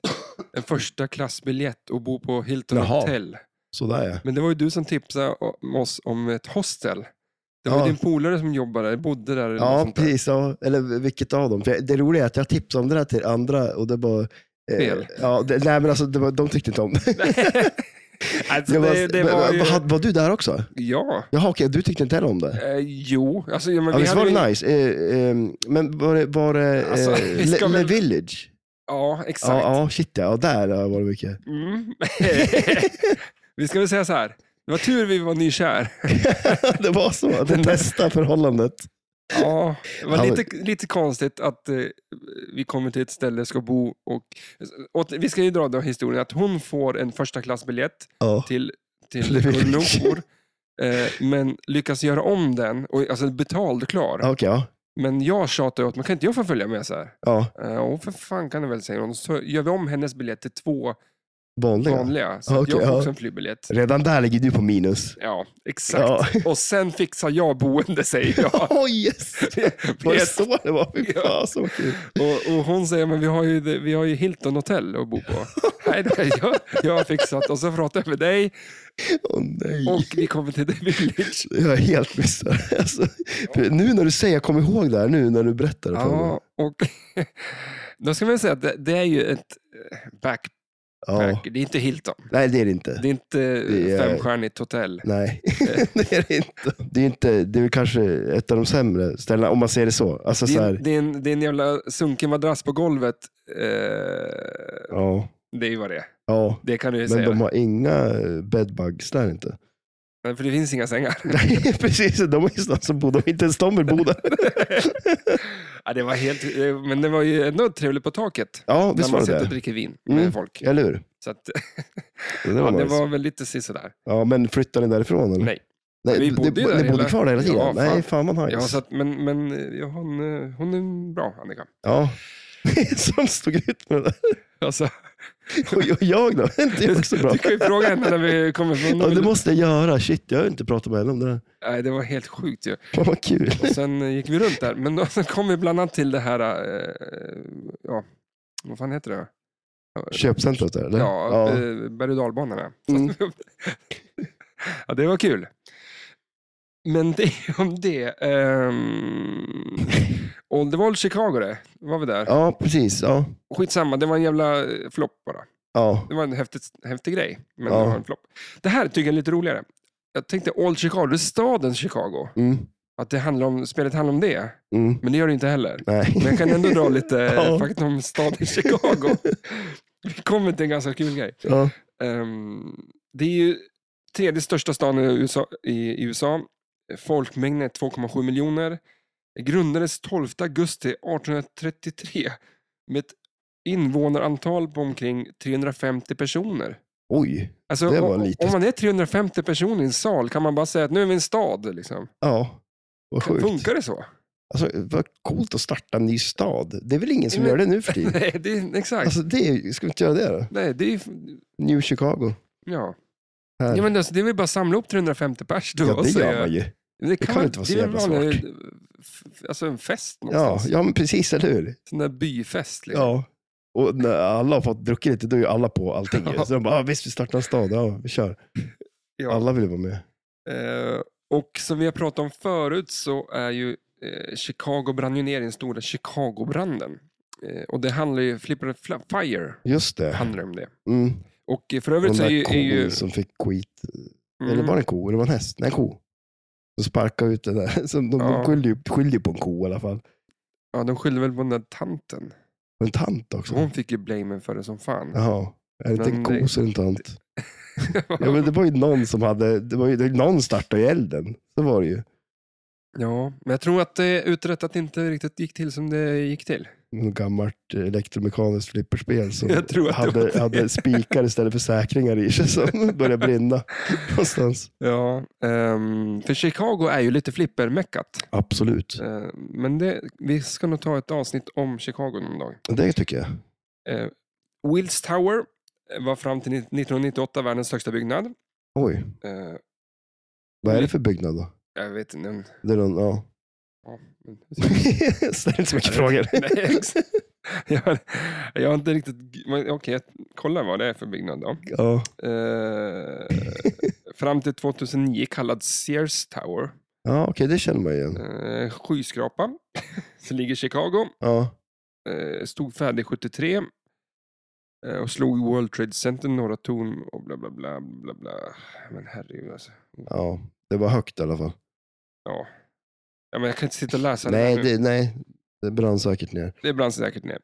A: en första klassbiljett och bo på Hilton
B: Jaha.
A: Hotel.
B: Sådär ja.
A: Men det var ju du som tipsade om oss om ett hostel. Det var
B: Ja.
A: ju din polare som jobbade, bodde där. eller något
B: Ja,
A: sånt där.
B: precis. Ja. Eller vilket av dem. För jag- det roliga är att jag tipsade om det där till andra och det var... eh,
A: Fel.
B: Ja, det, nej, men alltså, det var, de tyckte inte om det.
A: alltså,
B: Jag
A: det, det var ju...
B: var, var du där också?
A: Ja.
B: Jaha, okej. Du tyckte inte heller om det?
A: Eh, jo, alltså, ja, men
B: Ja,
A: vi
B: visst
A: hade ju-
B: var det nice? Eh, ehm, men var det, var det eh,
A: Alltså, vi ska
B: Le, Le
A: väl-
B: Village?
A: Ja, exakt.
B: Ja, ja, shit ja. ja. Där ja, var det mycket.
A: Mm. vi ska väl säga så här. Det var tur vi var nykär.
B: det var så. Det bästa förhållandet.
A: Ja, det var
B: Ja, men-
A: lite, lite konstigt att eh, vi kommer till ett ställe, ska bo och, och... Vi ska ju dra den historien att hon får en första klassbiljett
B: Ja.
A: till, till
B: Till Village.
A: Kuala Lumpur, eh, men lyckas göra om den, och, alltså betald och klar.
B: Okej, ja.
A: Men jag tjatar ju åt, men kan inte jag få följa med så här?
B: ja.
A: Eh, Och för fan kan det väl säga hon. Så gör vi om hennes biljett till två
B: Vanliga.
A: vanliga. Så
B: Ja,
A: att
B: okej,
A: jag får
B: ja.
A: också en flygbiljett.
B: Redan där ligger du på minus.
A: Ja, exakt.
B: Ja.
A: Och sen fixar jag boende, säger jag.
B: Åh yes! Var det så det var? Fy
A: Ja.
B: fan, så kul.
A: Och, och hon säger, men vi har ju, vi har ju Hilton hotell att bo på. Nej, det har jag, jag har fixat. Och så pratar jag med dig
B: Åh nej.
A: och vi kommer till The Village.
B: Jag är helt missad. Alltså, för nu när du säger, jag kommer ihåg det här nu när du berättar det för mig.
A: Ja, och då ska man säga att det, det är ju ett eh, backpack.
B: Ja.
A: Det är inte Hilton.
B: Nej, det är det inte.
A: Det är inte eh,
B: Det är-
A: femstjärnigt hotell.
B: Nej, det är det inte. Det är, inte, det är väl kanske ett av de sämre ställena, om man ser det så. Alltså,
A: Det
B: så
A: är,
B: här,
A: en, det, är en, det är en jävla sunkig madrass på golvet. Eh,
B: ja,
A: det är ju vad det är.
B: ja.
A: Det kan du ju
B: Men
A: säga.
B: de har inga bedbugs där inte.
A: Nej, För det finns inga sängar.
B: Nej, precis. De har ju snart som bodde, inte ens de vill bo där.
A: ja, det var helt, eh, men det var ju ändå trevligt på taket.
B: Ja, visst
A: när man
B: var det
A: sitter och
B: det?
A: dricker vin
B: Mm.
A: med folk.
B: Eller hur?
A: Så att,
B: Det
A: ja,
B: var
A: det
B: nice.
A: var väl lite sisådär.
B: Ja, men flyttade ni därifrån? Eller?
A: Nej.
B: Nej,
A: vi
B: det-
A: bodde ju där
B: Ni bodde
A: hela-
B: kvar där hela tiden?
A: Ja, fan.
B: Nej, fan vad nice.
A: Ja, så att, men men eh, ja, hon, eh, hon är bra, Annika.
B: Ja. Som stod ut med det
A: Alltså,
B: Och jag- jag då? Inte jag också bra?
A: du kan ju fråga henne när vi kommer från...
B: Ja, det måste jag göra. Shit, jag har ju inte pratat med henne om det där.
A: Nej, det var helt sjukt ju.
B: Fan vad kul.
A: Och sen eh, gick vi runt där, men då, sen kom vi bland annat till det här, eh, ja, vad fan heter det?
B: Köpcentret där, eller?
A: Ja, eh, berg och dalbanorna.
B: Mm.
A: ja, det var kul. Men det om det. ehm, Old World Chicago det, var vi där.
B: ja precis. Ja.
A: Skitsamma, det var en jävla eh, flopp bara.
B: Ja.
A: Det var en häftig, häftig grej, men
B: Ja.
A: det var en flopp. Det här tycker jag är lite roligare. Jag tänkte Old Chicago, det är staden Chicago.
B: Mm.
A: Att det handlar om, spelet handlar om det,
B: Mm.
A: men det gör det inte heller.
B: Nej.
A: Men jag kan ändå dra lite
B: Ja.
A: fakta om staden Chicago. Vi kommer till en ganska kul grej.
B: Ja.
A: Ehm, det är ju tredje största staden i USA. I i USA. Folkmängden är 2,7 miljoner. Grundades 12 augusti 1833 med ett invånarantal på omkring 350 personer.
B: Oj.
A: Alltså,
B: Det var
A: om,
B: litet.
A: om man är 350 personer i en sal kan man bara säga att nu är vi en stad. Liksom.
B: Ja. Vad sjukt.
A: Funkar det så?
B: Alltså, vad coolt att starta en ny stad. Det är väl ingen som
A: Men-
B: gör det nu för tiden?
A: Nej, det är, exakt.
B: Alltså, det är, ska vi inte göra det då?
A: Nej, det är,
B: New Chicago.
A: ja.
B: Här.
A: Ja, men alltså, det är väl bara att samla upp 350 pers då.
B: Ja,
A: och
B: det
A: så
B: gör
A: gör-
B: man ju.
A: Men
B: Det kan
A: väl-
B: inte vara så
A: det är väl
B: jävla
A: vanlig- f- Alltså en fest
B: Ja,
A: någonstans. Liksom.
B: ja, men precis, eller hur?
A: Sån där byfest. Liksom.
B: Ja. Och när alla har fått druckit lite, då är ju alla på allting.
A: Ja.
B: Så de bara, ah, visst vi startar en stad, ja vi kör.
A: Ja.
B: Alla vill vara med.
A: Eh, och som vi har pratat om förut så är ju eh, Chicago brann ju ner i den stora Chicago-branden. Eh, och det handlar ju, Flipper Fla- Fire
B: Just det.
A: handlar om det.
B: Mm.
A: Och eh, för
B: Den
A: övrigt så är ju...
B: där
A: Är
B: kon
A: ju
B: som fick skit.
A: mm,
B: Eller var det en ko? Eller var det en häst? Nej, en ko. De sparkade ut det där. Så de de
A: Ja.
B: skyller ju skyller ju på en ko i alla fall.
A: ja, de skyllde väl på den där tanten.
B: Och en tant också.
A: Hon fick ju blamen för det som fan.
B: Jaha. Är det inte en
A: Men det-
B: ko så är det en tant. Ja, men det var ju någon som hade, det var ju, det- någon startade ju elden. Så var det ju.
A: Ja, men jag tror att det är utrett att det inte riktigt gick till som det gick till.
B: Något gammalt eh, elektromekaniskt flipperspel som
A: Jag tror att det var
B: hade,
A: det.
B: hade spikar istället för säkringar i sig som började brinna någonstans.
A: Ja, ehm, för Chicago är ju lite flippermäckat.
B: Absolut,
A: Eh, men det, vi ska nog ta ett avsnitt om Chicago någon dag.
B: det tycker jag.
A: Eh, Wills Tower var fram till 1998 världens högsta byggnad.
B: Oj,
A: Eh,
B: vad är det för byggnad då?
A: jag vet inte. en-
B: Det är någon, ja.
A: Ja, men-
B: Ställ inte så mycket frågor.
A: Nej, exakt. jag, jag har inte riktigt... men Okej, jag kollar vad det är för byggnad då.
B: Ja.
A: Eh, fram till 2009 kallad Sears Tower.
B: Ja, okej, det känner man igen.
A: Eh, skyskrapa. Så ligger Chicago.
B: Ja.
A: Eh, stod färdig 73. Eh, och slog World Trade Center, Norra Torn och bla bla bla. bla, bla. Men herregud alltså.
B: ja, det var högt i alla fall.
A: Ja. ja men jag kan inte sitta och läsa det här
B: Nej,
A: nu.
B: det, nej, det brann säkert ner.
A: Det brann säkert ner.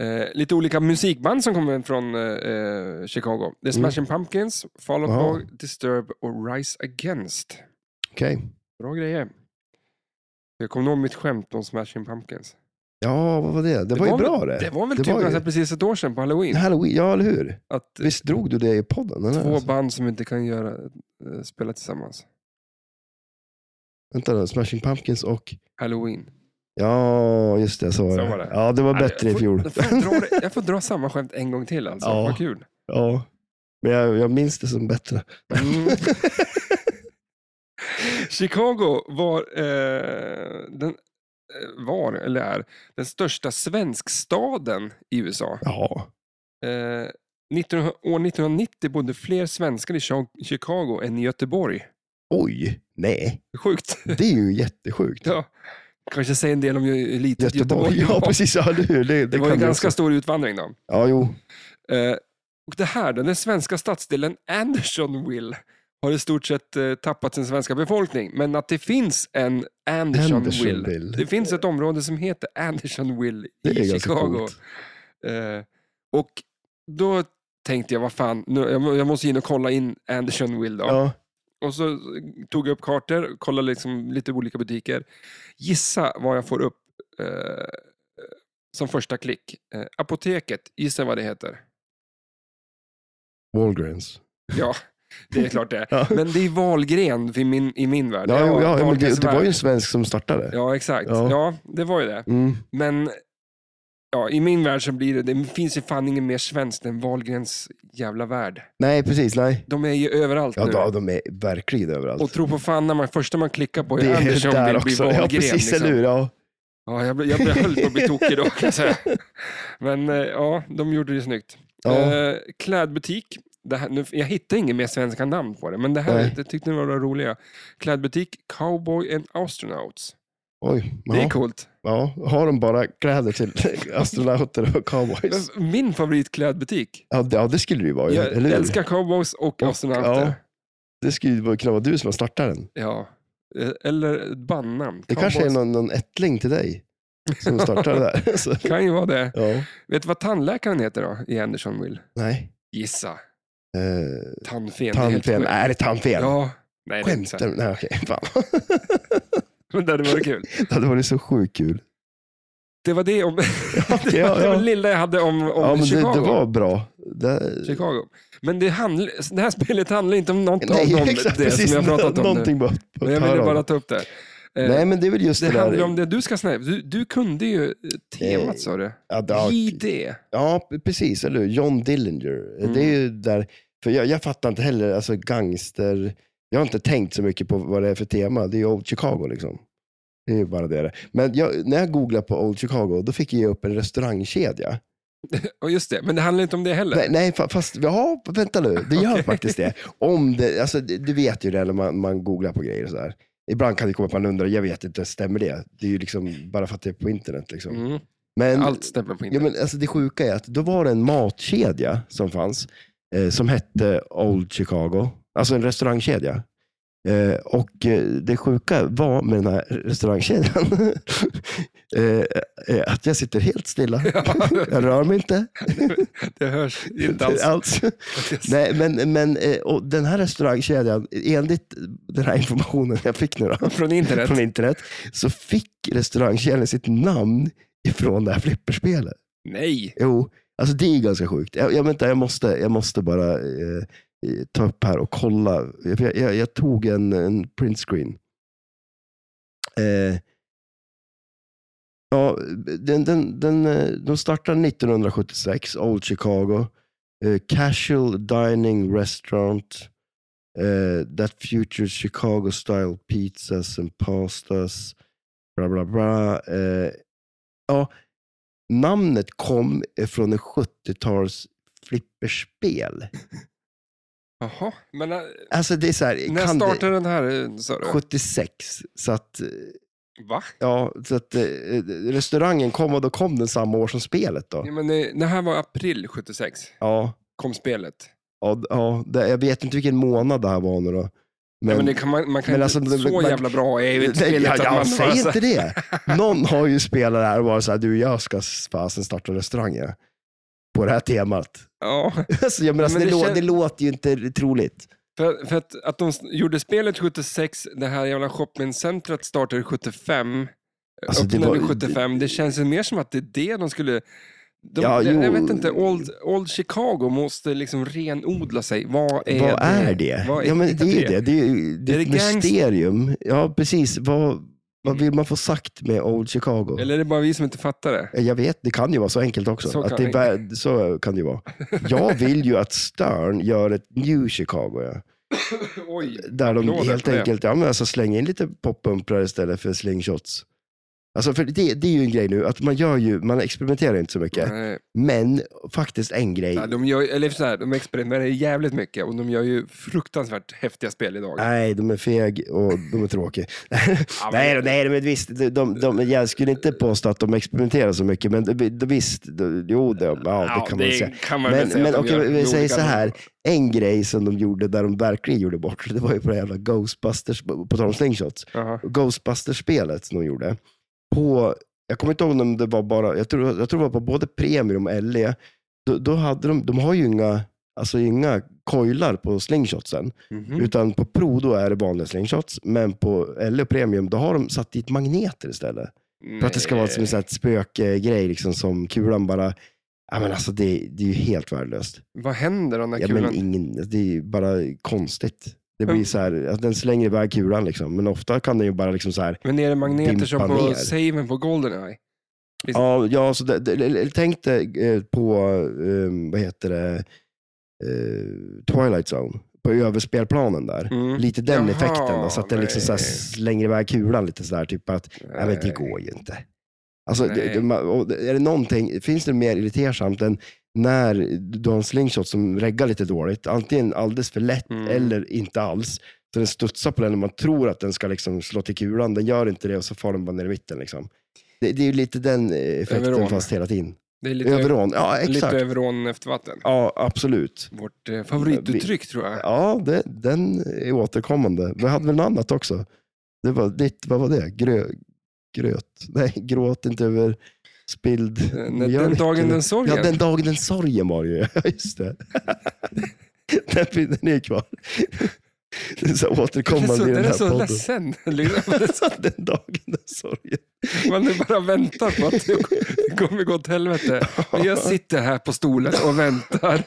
A: Eh, lite olika musikband som kommer från eh, eh, Chicago. The
B: Mm.
A: Smashing Pumpkins, Fall Out
B: Jaha.
A: Boy, Disturbed och Rise Against.
B: Okej.
A: Bra grejer. Jag kommer ihåg mitt skämt om Smashing Pumpkins.
B: Ja, vad var det? Det, var ju
A: väl-
B: bra det.
A: Det var väl
B: Det
A: typ
B: var ju-
A: nästan precis ett år sedan på halloween.
B: Halloween, ja eller hur?
A: Att eh,
B: Visst drog du det alltså. i podden? Eller?
A: två band som inte kan göra, eh, spela tillsammans.
B: Vänta nu, Smashing Pumpkins och...
A: Halloween.
B: Ja, just det, så var,
A: Så
B: det.
A: var det.
B: Ja, det var
A: Nej,
B: bättre
A: jag
B: i
A: får-
B: fjol.
A: Jag får, dra, det- jag får dra samma skämt en gång till alltså.
B: Ja.
A: Vad kul.
B: Ja, men jag, jag minns det som bättre.
A: Mm. Chicago var, eh, den, eh, var, eller är, den största svenskstaden i USA.
B: Ja,
A: Eh, 19, år 1990 bodde fler svenskar i Chi- Chicago än i Göteborg.
B: oj, nej,
A: Sjukt.
B: det är ju jättesjukt.
A: Ja. Kanske säger en del om ju- litet Göteborg.
B: Göteborg, ja precis, ja, eller hur? Det, det,
A: Det var ju
B: kan du
A: ganska
B: också.
A: stor utvandring då.
B: Ja, jo,
A: Eh, och det här, då, den svenska stadsdelen Andersonville har i stort sett eh, tappat sin svenska befolkning. Men att det finns en Andersonville.
B: Andersonville.
A: Det finns ett område som heter Andersonville
B: Det är
A: i
B: ganska
A: Chicago.
B: coolt.
A: Eh, och då tänkte jag, vad fan, nu, jag, må- jag måste in och kolla in Andersonville då.
B: Ja.
A: Och så tog jag upp kartor, kollade liksom lite olika butiker. Gissa vad jag får upp eh, som första klick. Eh, apoteket, gissa vad det heter.
B: Walgreens.
A: Ja, det är klart det.
B: Ja.
A: Men det är Wahlgren i min, i min värld.
B: Ja,
A: Det var
B: ja, ja men det,
A: Wahlgrens
B: det var
A: värld.
B: ju en svensk som startade.
A: Ja, exakt. Ja.
B: Ja.
A: det var ju det.
B: Mm.
A: Men ja, i min värld så blir det, det finns ju fan ingen mer svenskt än Wahlgrens jävla värld.
B: Nej, precis, nej.
A: De är ju överallt
B: Ja,
A: nu.
B: då, de är verkligen överallt.
A: Och tro på fan, när man, första man klickar på
B: det
A: är
B: är
A: Andersson
B: där
A: vill bli
B: också. Ja,
A: Wahlgren.
B: precis,
A: liksom.
B: eller hur? Ja.
A: Ja, jag, blev- jag blev- höll på att bli tokig då. kan jag säga. Men eh, ja, de gjorde det snyggt.
B: Ja.
A: Eh, klädbutik. Det här, nu, jag hittade inget mer svenska namn på det, men det här
B: Nej.
A: det tyckte jag var det roliga. Klädbutik, Cowboy and Astronauts.
B: Oj,
A: Det
B: ja.
A: är coolt.
B: ja. Har de bara kläder till astronauter och cowboys?
A: Men Min favoritklädbutik.
B: Ja, det, ja, det skulle det ju vara.
A: Jag
B: eller hur?
A: älskar cowboys och
B: Och,
A: astronauter.
B: Det skulle ju kunna vara du som har startat den.
A: Ja. Eh, Eller ett bandnamn.
B: Det kanske är
A: Cowboys.
B: någon, någon ättling till dig som startade det där. Så,
A: kan ju vara det.
B: ja,
A: Vet du vad tandläkaren heter då i Andersonville?
B: nej.
A: Gissa.
B: Eh,
A: Tandfen. det är helt
B: tandfen.
A: sjukt.
B: Är det tandfen?
A: Ja. Nej, det är inte
B: Skämtar
A: sant.
B: du? Nej, okej. Fan.
A: Men det var kul.
B: Det hade varit så sjukt kul.
A: Det var det om...
B: Okej,
A: det var
B: ja,
A: det
B: ja.
A: lilla jag hade om, om
B: Ja, men det,
A: Chicago.
B: det var bra. Det,
A: Chicago. Men det, handl... det här spelet handlar inte om något av
B: nej,
A: dem,
B: exakt.
A: det
B: Precis,
A: som jag har pratat om nu.
B: någonting bara
A: Men jag ville bara ta upp det. Eh,
B: Nej, men det är väl just
A: det
B: det, där.
A: handlar om det du ska snäva. Du, du kunde ju eh,
B: Eh,
A: temat sa du.
B: Ja, det-
A: JD.
B: Ja, precis. Eller hur? John Dillinger.
A: Mm.
B: Det är ju där, för jag, jag fattar inte heller, alltså gangster. Jag har inte tänkt så mycket på vad det är för tema. Det är ju Old Chicago liksom. Det är ju bara det. Men jag, när jag googlade på Old Chicago, då fick jag upp en restaurangkedja.
A: Och just det, men det handlar inte om det heller.
B: Nej, nej fa- fast, ja, vänta nu. Det gör
A: Okej.
B: faktiskt det. Om det alltså, du du vet ju det när man, man googlar på grejer och sådär. Ibland kan det komma upp att man undrar, jag vet inte, stämmer det? Det är ju liksom bara för att det är på internet. Liksom.
A: Mm.
B: Men,
A: Allt stämmer på
B: Ja,
A: internet.
B: men alltså det sjuka är att då var det en matkedja som fanns eh, som hette Old Chicago. Alltså en restaurangkedja. Eh, och eh, det sjuka var med den här restaurangkedjan eh, eh, att jag sitter helt stilla. jag rör mig inte
A: Det hörs inte alls.
B: alls. Nej, men, men eh, och den här restaurangkedjan, enligt den här informationen jag fick nu då,
A: Från internet.
B: från internet, så fick restaurangkedjan sitt namn ifrån det här flipperspelet.
A: Nej.
B: Jo, alltså det är ganska sjukt. Jag, jag, vänta, jag, måste, jag måste bara eh, eh, ta upp här och kolla. Jag, jag- jag, jag tog en, en printscreen. Eh, ja, den, den, den, eh, de startade 1976, Old Chicago. Eh, casual dining restaurant. Eh, that futures Chicago style pizzas and pastas. Bla, bla, bla. Eh, ja, namnet kom eh, från en 70-tals flipperspel.
A: Jaha. Men eh,
B: Alltså det är så här,
A: när
B: kan
A: startade
B: det,
A: den här? eh, Sa du?
B: 76. Så att, eh,
A: Va?
B: ja, så att eh, eh, restaurangen kom och då kom den samma år som spelet då.
A: Ja, men det, det här var april 76.
B: Ja,
A: Kom spelet.
B: ja, ja det, jag vet inte vilken månad det här var nu då.
A: Men, ja, men det kan man, man kan
B: men
A: inte,
B: alltså,
A: så
B: man-
A: jävla bra är ju inte
B: Nej,
A: spelet
B: jag,
A: att man
B: jag,
A: bara
B: säg
A: så-
B: inte det. Någon har ju spelat det här och varit så här, du jag ska fasen starta en restaurang ja. På det här temat.
A: Ja,
B: Alltså, jag menar, alltså,
A: Men
B: det,
A: det
B: lå-
A: kän-
B: det låter ju inte troligt.
A: för, för att, att de s- gjorde spelet 76, det här jävla shoppingcentret startade 75,
B: Alltså, det
A: öppnade
B: var-
A: 75. Det känns ju mer som att det är det de skulle... De,
B: Ja,
A: det, jag
B: jo.
A: vet inte, old, old Chicago måste liksom renodla sig. Vad är
B: Vad
A: det?
B: är det?
A: Vad
B: ja, men det är ju det. Det är, ju- det är
A: Är
B: ett
A: det gangst-
B: mysterium. Ja, precis. Vad, vad vill man få sagt med Old Chicago? Eh,
A: Eller är det bara vi som inte fattar det?
B: Jag vet, det kan ju vara så enkelt också.
A: Så
B: att
A: kan
B: det
A: det.
B: är, värd- så kan det ju vara. Jag vill ju att Stern gör ett New Chicago. Ja.
A: Oj.
B: Där de
A: Applåder
B: helt
A: för det.
B: enkelt ja, men alltså slänger in lite poppumprar istället för slingshots. Alltså för det, det är ju en grej nu, att man gör ju, man experimenterar inte så mycket.
A: Nej.
B: Men faktiskt en grej.
A: Ja, de, gör, eller så här, de experimenterar jävligt mycket och de gör ju fruktansvärt häftiga spel idag.
B: Nej, de är feg och de är tråkiga.
A: men-
B: nej, de- nej, men visst, de, de, de, jag skulle inte påstå att de experimenterar så mycket, men de, de, visst, de, jo, de, ja, det kan man säga.
A: kan man väl
B: Men,
A: säga att
B: men
A: de
B: okej,
A: gör
B: vi säger
A: olika-
B: så här. En grej som de gjorde där de verkligen gjorde bort sig, det var ju på det jävla Ghostbusters, på tal om slingshots,
A: Jaha.
B: Ghostbusters-spelet som de gjorde. På, jag kommer inte ihåg om det var bara, jag tror, jag tror det var på både Premium och LE, då, då hade de, de har ju inga, alltså inga coilar på slingshotsen.
A: Mhm.
B: Utan på Pro då är det vanliga slingshots, men på LE och Premium då har de satt dit magneter istället. För att det ska vara som en
A: Eh.
B: sån här spökgrej, liksom, som kulan bara... Ja, men alltså, det, det är ju helt värdelöst.
A: Vad händer då när
B: Ja,
A: kulan...
B: men ingen, det är ju bara konstigt. Det
A: Men-
B: blir så här, att den slänger iväg kulan, liksom. men ofta kan den ju bara liksom så här...
A: Men är det magneter som
B: dimpa
A: på
B: ner.
A: saven på Goldeneye?
B: Ja, ja så det, det, eller tänk dig eh, på, eh, vad heter det, eh, Twilight Zone. På överspelplanen där.
A: Mm.
B: Lite den
A: Jaha,
B: effekten, då, så att den liksom så här
A: nej.
B: slänger iväg kulan lite sådär. Typ att, nej men det går ju inte. Alltså, det,
A: Eh, Nej.
B: det- man- och det- är det någonting, finns det mer irritersamt än när du har en slingshot som reggar lite dåligt, antingen alldeles för lätt
A: Mm.
B: eller inte alls. Så den studsar på den och man tror att den ska liksom slå till kulan, den gör inte det och så far den bara ner i mitten. Liksom. Det, det är ju lite den eh, effekten
A: Överån.
B: fast hela tiden.
A: Det är lite,
B: Överån, ja
A: lite
B: exakt.
A: överån efter vatten.
B: Ja, absolut.
A: Vårt eh, favorituttryck tror jag.
B: Ja, det, den är återkommande. Vi hade väl något annat också? Det var ditt, vad var det? Grö, gröt? Nej, gråt inte över spilld
A: Eh, när-
B: mjölk,
A: Den dagen
B: eller-
A: den sorgen.
B: Ja, den dagen den sorgen var det ju. Ja, just det. den, fin- den är kvar. Den är så
A: den är så,
B: återkommande i
A: den
B: den
A: är
B: här
A: så
B: podden.
A: ledsen. liksom.
B: den dagen den sorgen.
A: Man nu bara väntar på att det- det kommer gå åt helvete. Men jag sitter här på stolen och väntar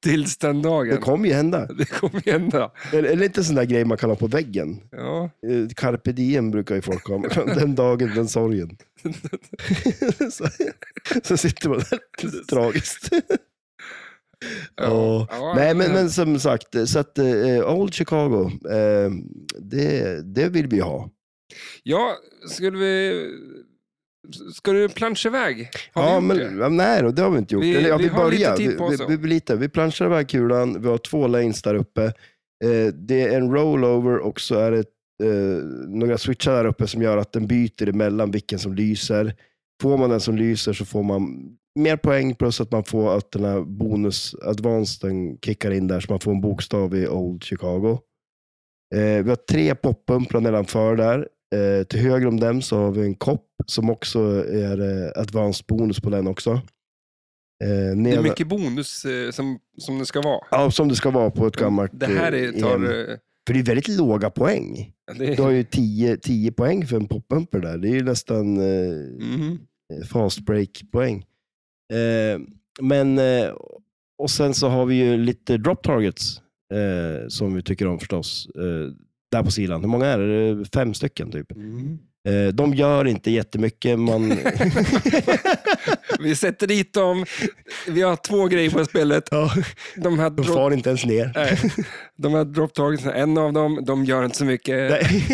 A: tills den
B: Det
A: dagen.
B: kommer ju hända.
A: Det kommer hända.
B: Eller, eller inte en sån där grej man kan ha på väggen.
A: Ja.
B: Eh, Carpe diem brukar ju folk ha. Den dagen, den sorgen. så, så sitter man där. Tragiskt. Ja.
A: Ja,
B: Nej, men, men som sagt, eh, så att eh, Old Chicago, eh, det, det vill vi ha.
A: Ja, skulle vi... Ska du planscha iväg? Har vi
B: ja,
A: gjort
B: men,
A: det?
B: ja, nej då, det har vi inte gjort.
A: Vi-
B: Eller, ja,
A: vi
B: vi,
A: har lite
B: börjar.
A: tid
B: Vi,
A: på oss då.
B: vi, vi, lite. vi planchar iväg kulan, vi har två lanes där uppe. Eh, det är en rollover och så är det eh, några switchar där uppe som gör att den byter emellan vilken som lyser. Får man den som lyser så får man mer poäng plus att man får att den här bonus advanced den kickar in där så man får en bokstav i Old Chicago. Eh, vi har tre poppumprar nedanför där. Eh, till höger om dem så har vi en kopp som också är eh, advanced bonus på den också. Eh,
A: Det är
B: nedan-
A: mycket bonus eh, som, som det ska vara.
B: Ja, som det ska vara på ett gammalt
A: Mm, Det här är,
B: eh,
A: tar...
B: EM.
A: eh,
B: För det är väldigt låga poäng.
A: Det,
B: Du har ju 10 10 poäng för en poppumper där. Det är ju nästan eh,
A: Mhm.
B: fast break-poäng. Eh, men, eh, och sen så har vi ju lite drop targets eh, som vi tycker om förstås. Eh, där på sidan. Hur många är det? det? är Fem stycken typ.
A: Mhm.
B: Eh, de gör inte jättemycket. Man...
A: Vi sätter dit dem. Vi har två grejer på spelet.
B: ja,
A: De här
B: de
A: drop,
B: far inte ens ner.
A: nej, de här drop targets, en av dem, de gör inte så mycket.
B: Nej.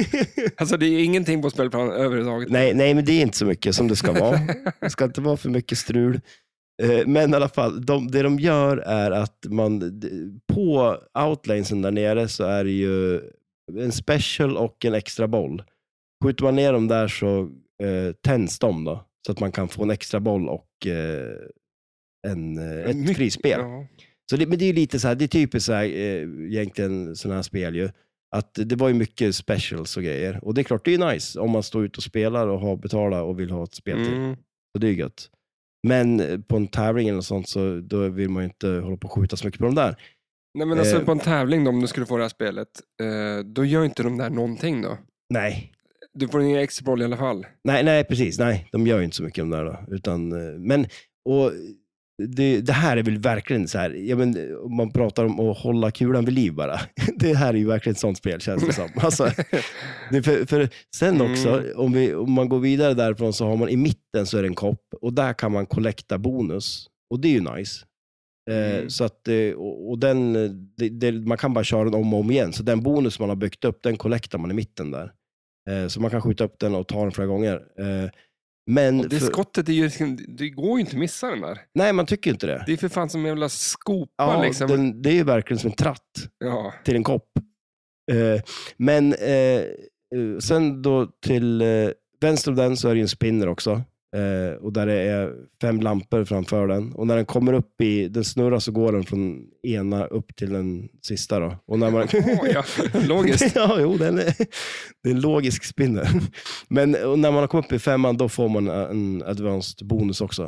A: Alltså det är ingenting på spelplanen överhuvudtaget.
B: Nej, nej, men det är inte så mycket som det ska vara. Det ska inte vara för mycket strul. Eh, Men i alla fall, de, det de gör är att man, d- på outlanesen där nere så är det ju en special och en extra boll. Skjuter man ner dem där så eh, tänds de då, så att man kan få en extra boll och eh, en, eh, ett
A: Mycket-
B: frispel.
A: Ja.
B: Så det, men det är ju lite så här, det är typiskt så här, eh, egentligen sådana här spel ju. Att det var ju mycket specials och grejer. Och det är klart, det är ju nice om man står ute och spelar och har betalat och vill ha ett spel till.
A: Mm.
B: Så det är ju gött. Men eh, på en tävling eller något sånt så då vill man ju inte hålla på och skjuta så mycket på de där.
A: Nej men alltså
B: Eh.
A: på en tävling då, om du skulle få det här spelet, eh, då gör inte de där någonting då.
B: Nej,
A: Du får ingen extra boll i alla fall.
B: nej, nej precis. Nej, de gör ju inte så mycket de där då. Utan, eh, men, och det, det här är väl verkligen så här, ja, men, om man pratar om att hålla kulan vid liv bara. Det här är ju verkligen ett sånt spel känns det som. Alltså, Det, för, för sen
A: Mm.
B: också, om, vi, om man går vidare därifrån så har man i mitten så är det en kopp och där kan man kollekta bonus. Och det är ju nice. Eh,
A: Mm.
B: Så att, eh, och, och den, eh, det, det, man kan bara köra den om och om igen. Så den bonus man har byggt upp, den kollektar man i mitten där. Eh, Så man kan skjuta upp den och ta den flera gånger. Eh, Men
A: Och det
B: för,
A: skottet är ju, liksom- det går ju inte att missa den där.
B: nej, man tycker ju inte det.
A: Det är för fan som en jävla skopa
B: Ja,
A: liksom.
B: den, det är ju verkligen som en tratt.
A: Ja.
B: till en kopp. Eh, men eh, eh, sen då till eh, vänster om den så är det ju en spinner också. Eh, och där det är fem lampor framför den. Och när den kommer upp i, den snurrar så går den från ena upp till den sista då. Och när man...
A: Oh, ja. Logiskt.
B: ja, jo, den är, det är en logisk spinner. Men och när man har kommit upp i femman, då får man eh, en advanced bonus också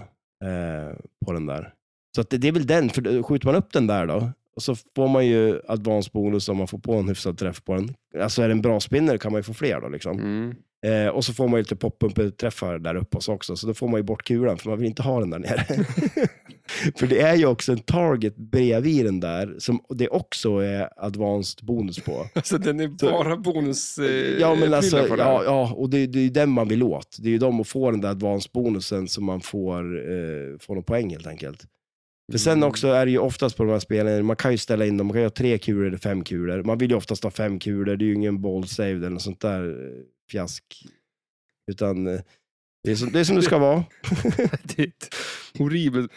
B: eh, på den där. Så att det, det är väl den, för då skjuter man upp den där då, och så får man ju advanced bonus om man får på en hyfsad träff på den. Alltså är det en bra spinner kan man ju få fler då. Liksom.
A: Mm.
B: Eh, och så får man ju lite poppump-träffar där uppe också, också, så då får man ju bort kulan, för man vill inte ha den där nere. för det är ju också en target bredvid den där, som det också är advanced bonus på.
A: Alltså den är
B: Så-
A: bara bonus eh,
B: Ja, men
A: prylar
B: alltså,
A: på den.
B: ja, ja, och det, det är ju den man vill åt. Det är ju de att få den där advance-bonusen som man får, eh, får någon poäng helt enkelt. För sen
A: Mm.
B: också är det ju oftast på de här spelen, man kan ju ställa in dem, man kan ju ha tre kulor eller fem kulor. Man vill ju oftast ha fem kulor, det är ju ingen ball saved eller något sånt där eh, fjask. Utan eh, det är som det, är som det ska vara.
A: Det är ett horribelt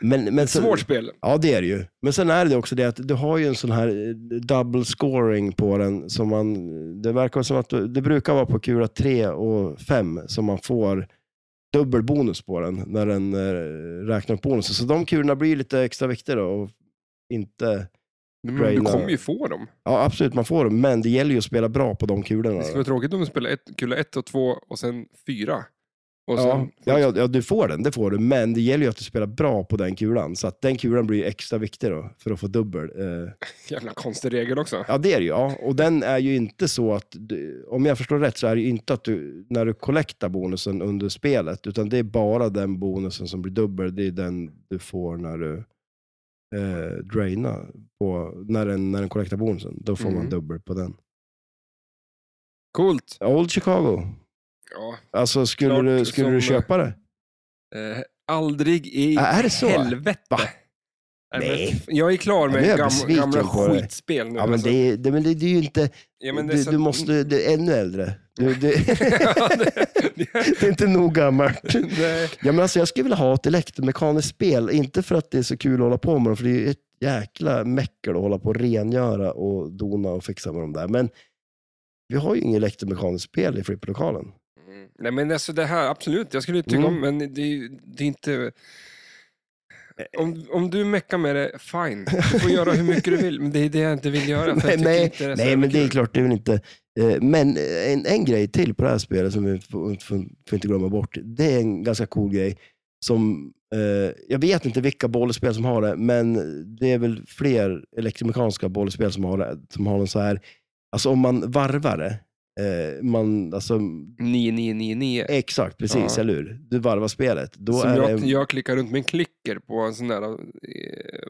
B: Men, men sen,
A: svårt spel.
B: Ja, det är det ju. Men sen är det också det att du har ju en sån här eh, double scoring på den. Som man, det verkar som att du, det brukar vara på kula 3 och 5 som man får dubbel bonus på den när den eh, räknar upp bonusen. Så de kulorna blir lite extra viktiga då. Och inte,
A: Men
B: Brain
A: du
B: out.
A: kommer ju få dem.
B: ja, absolut, man får dem, men det gäller ju att spela bra på de kulorna.
A: Det skulle vara tråkigt om du spelar ett, kula ett och två och sen fyra. Och
B: Ja,
A: sen,
B: ja, ja, ja, du får den, det får du, men det gäller ju att du spelar bra på den kulan. Så att den kulan blir ju extra viktig då, för att få dubbel. Eh,
A: Jävla konstig regel också.
B: Ja, det är det ju. Ja. Och den är ju inte så att, du, om jag förstår rätt, så är det ju inte att du, när du kollektar bonusen under spelet, utan det är bara den bonusen som blir dubbel. Det är den du får när du eh, drainar, på, när den, när den kollektar bonusen. Då får man
A: Mm.
B: dubbel på den.
A: Coolt.
B: Old Chicago.
A: Ja.
B: Alltså, skulle,
A: Klart
B: du, skulle
A: som-
B: du köpa det?
A: Eh, aldrig i
B: Ja, är det Äh, så?
A: helvete.
B: Va?
A: Nej. men
B: Nej.
A: f- Jag är klar med
B: Ja, nu är jag
A: gam,
B: besviken
A: gamla
B: på dig.
A: skitspel nu.
B: Ja, men
A: alltså.
B: det, är- det, men det, det är ju inte...
A: Ja, men det är
B: du,
A: så-
B: du måste... Du är ännu äldre. Du, du,
A: Ja, det- det-
B: det är inte nog gammalt.
A: Nej.
B: Ja, men alltså, jag skulle vilja ha ett elektromekaniskt spel, inte för att det är så kul att hålla på med dem, för det är ju ett jäkla mäckel att hålla på och rengöra och dona och fixa med dem där. Men vi har ju inget elektromekaniskt spel i flipplokalen.
A: Mm. Nej men alltså det här, absolut, jag skulle tycka
B: Mm. Eh,
A: om, men det, är ju- det är inte... Om, om du meckar med det, fine. Du får göra hur mycket du vill, men det är det jag inte vill göra. För jag tycker
B: Nej, nej,
A: inte det är så
B: nej
A: jävla
B: men det är
A: kul.
B: klart, det är väl inte... eh, Men en, en grej till på det här spelet som vi får, får, får inte glömma bort. Det är en ganska cool grej. Som, eh, jag vet inte vilka bollspel som har det, men det är väl fler elektromekaniska bollspel som har det. Som har en så här, alltså om man varvar det, eh, man, alltså,
A: 9999.
B: exakt precis,
A: Ja.
B: eller hur? Du varvar spelet. Då
A: Som
B: är
A: jag,
B: det,
A: jag klickar runt med en klicker på en sån där, eh,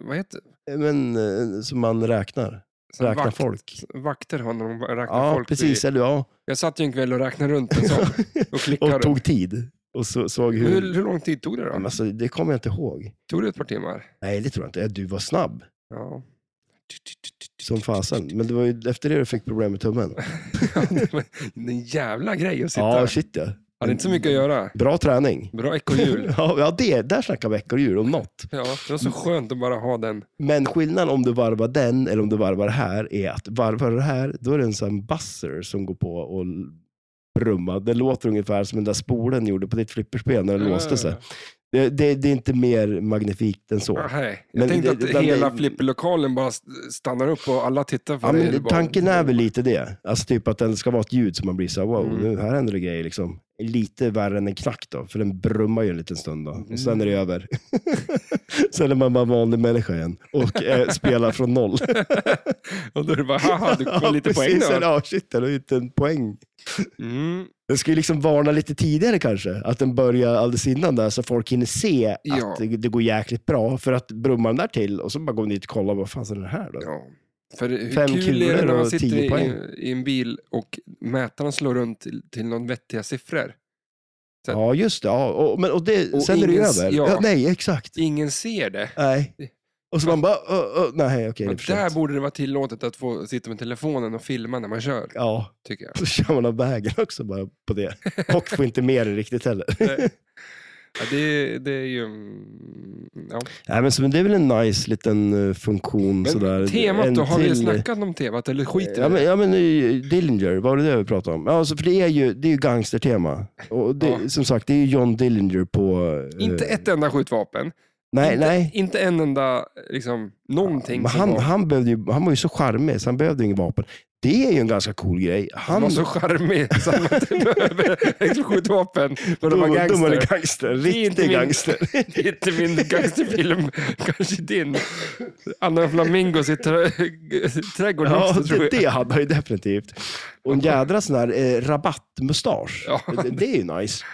A: vad heter det?
B: men, eh, som man räknar.
A: Sån
B: Räknar
A: vakt-
B: folk.
A: Vakter har när de räknar
B: Ja,
A: folk.
B: precis. Eller, ja.
A: Jag satt ju en kväll och räknade runt en sån och klickade.
B: och tog tid. Och så, såg hur...
A: hur, hur lång tid tog det
B: Ja,
A: då?
B: men alltså, det kommer jag inte ihåg.
A: Tog det ett par timmar?
B: Nej, det tror jag inte. Du var snabb
A: Ja.
B: som fasen. Men det var ju efter det du fick problem med tummen.
A: det var en jävla grej att sitta.
B: Ja,
A: Ja,
B: shit ja.
A: Hade inte så mycket att göra.
B: Bra träning.
A: Bra ekorrhjul.
B: Ja, ja det, där snackar vi ekorrhjul om något.
A: Ja, det var så skönt att bara ha den.
B: Men skillnaden om du varvar den eller om du varvar det här är att varvar du det här, då är det en sån buzzer som går på och l- brummar. Det låter ungefär som den där spolen gjorde på ditt flipperspel när den låste sig. Det, det, det är inte mer magnifikt än så.
A: Ah, hej. Jag
B: Men
A: tänkte
B: det-
A: att
B: men det-
A: hela flipperlokalen bara st- stannar upp och alla tittar på
B: Ja,
A: dig.
B: men
A: Du bara-
B: tanken är väl lite det. Alltså typ att det ska vara ett ljud som man blir så här, wow,
A: Mm.
B: nu här händer det grejer liksom. Lite värre än en knack då, för den brummar ju en liten stund då. Och sen är
A: Mm.
B: det över. sen är man bara en vanlig människa igen och eh, spelar från noll.
A: Och då är det bara, haha, du får lite poäng
B: Precis,
A: då.
B: ja, shit, det är ju inte en poäng.
A: Mm.
B: Den ska ju liksom varna lite tidigare kanske, att den börjar alldeles innan där så folk hinner se
A: Ja.
B: att det, det går jäkligt bra. För att brummar den där till och så bara går man dit och kollar, vad fan är det här då?
A: Ja. För hur
B: Fem
A: kul är det
B: kulor
A: när man
B: och
A: sitter
B: tio
A: i,
B: poäng.
A: i en bil och mätaren slår runt till, till någon vettiga siffror.
B: Ja, just det. Ja, och, men, och det
A: Och
B: sen är det ju
A: ingen s-
B: över.
A: ja.
B: Ja, nej, exakt.
A: Ingen ser det.
B: Nej. Och så man bara, ö, ö, nej okej, det är
A: Men
B: för
A: där
B: sent.
A: borde det vara tillåtet att få sitta med telefonen och filma när man kör,
B: Ja,
A: tycker jag.
B: så kör man av vägen också bara på det. Och får inte med det riktigt heller.
A: Nej. Ja, det, det är ju... mm, Ja.
B: Nej, men, så, men det är väl en nice liten eh, funktion
A: Men
B: sådär.
A: temat
B: En
A: då, har vi
B: till-
A: snackat om temat eller skiter vi i
B: Ja men,
A: det?
B: ja, men eh, Dillinger, vad var det det vi pratade om? Ja, Alltså, för det är ju, det är ju gangstertema. Och det,
A: Ja.
B: Som sagt, det är ju John Dillinger på... eh,
A: Inte ett enda skjutvapen.
B: Nej,
A: inte,
B: nej.
A: inte en enda, liksom, någonting
B: Men
A: som
B: han,
A: var,
B: han, behövde ju, han var ju så charmig, så han behövde ju inget vapen. Det är ju en ganska cool grej. Han,
A: som var så charmig så att man inte behöver skjutvapen. Men de var
B: Då var det
A: gangster.
B: gangster.
A: Det är inte
B: Riktig
A: min-
B: gangster.
A: Det är inte min gangsterfilm, kanske din. Anna Flamingo i trä- trädgården
B: Ja,
A: också, tror
B: det,
A: jag.
B: det hade han ju definitivt. Och en jädra sån här eh, rabattmustasch.
A: Ja.
B: Det, det är ju nice.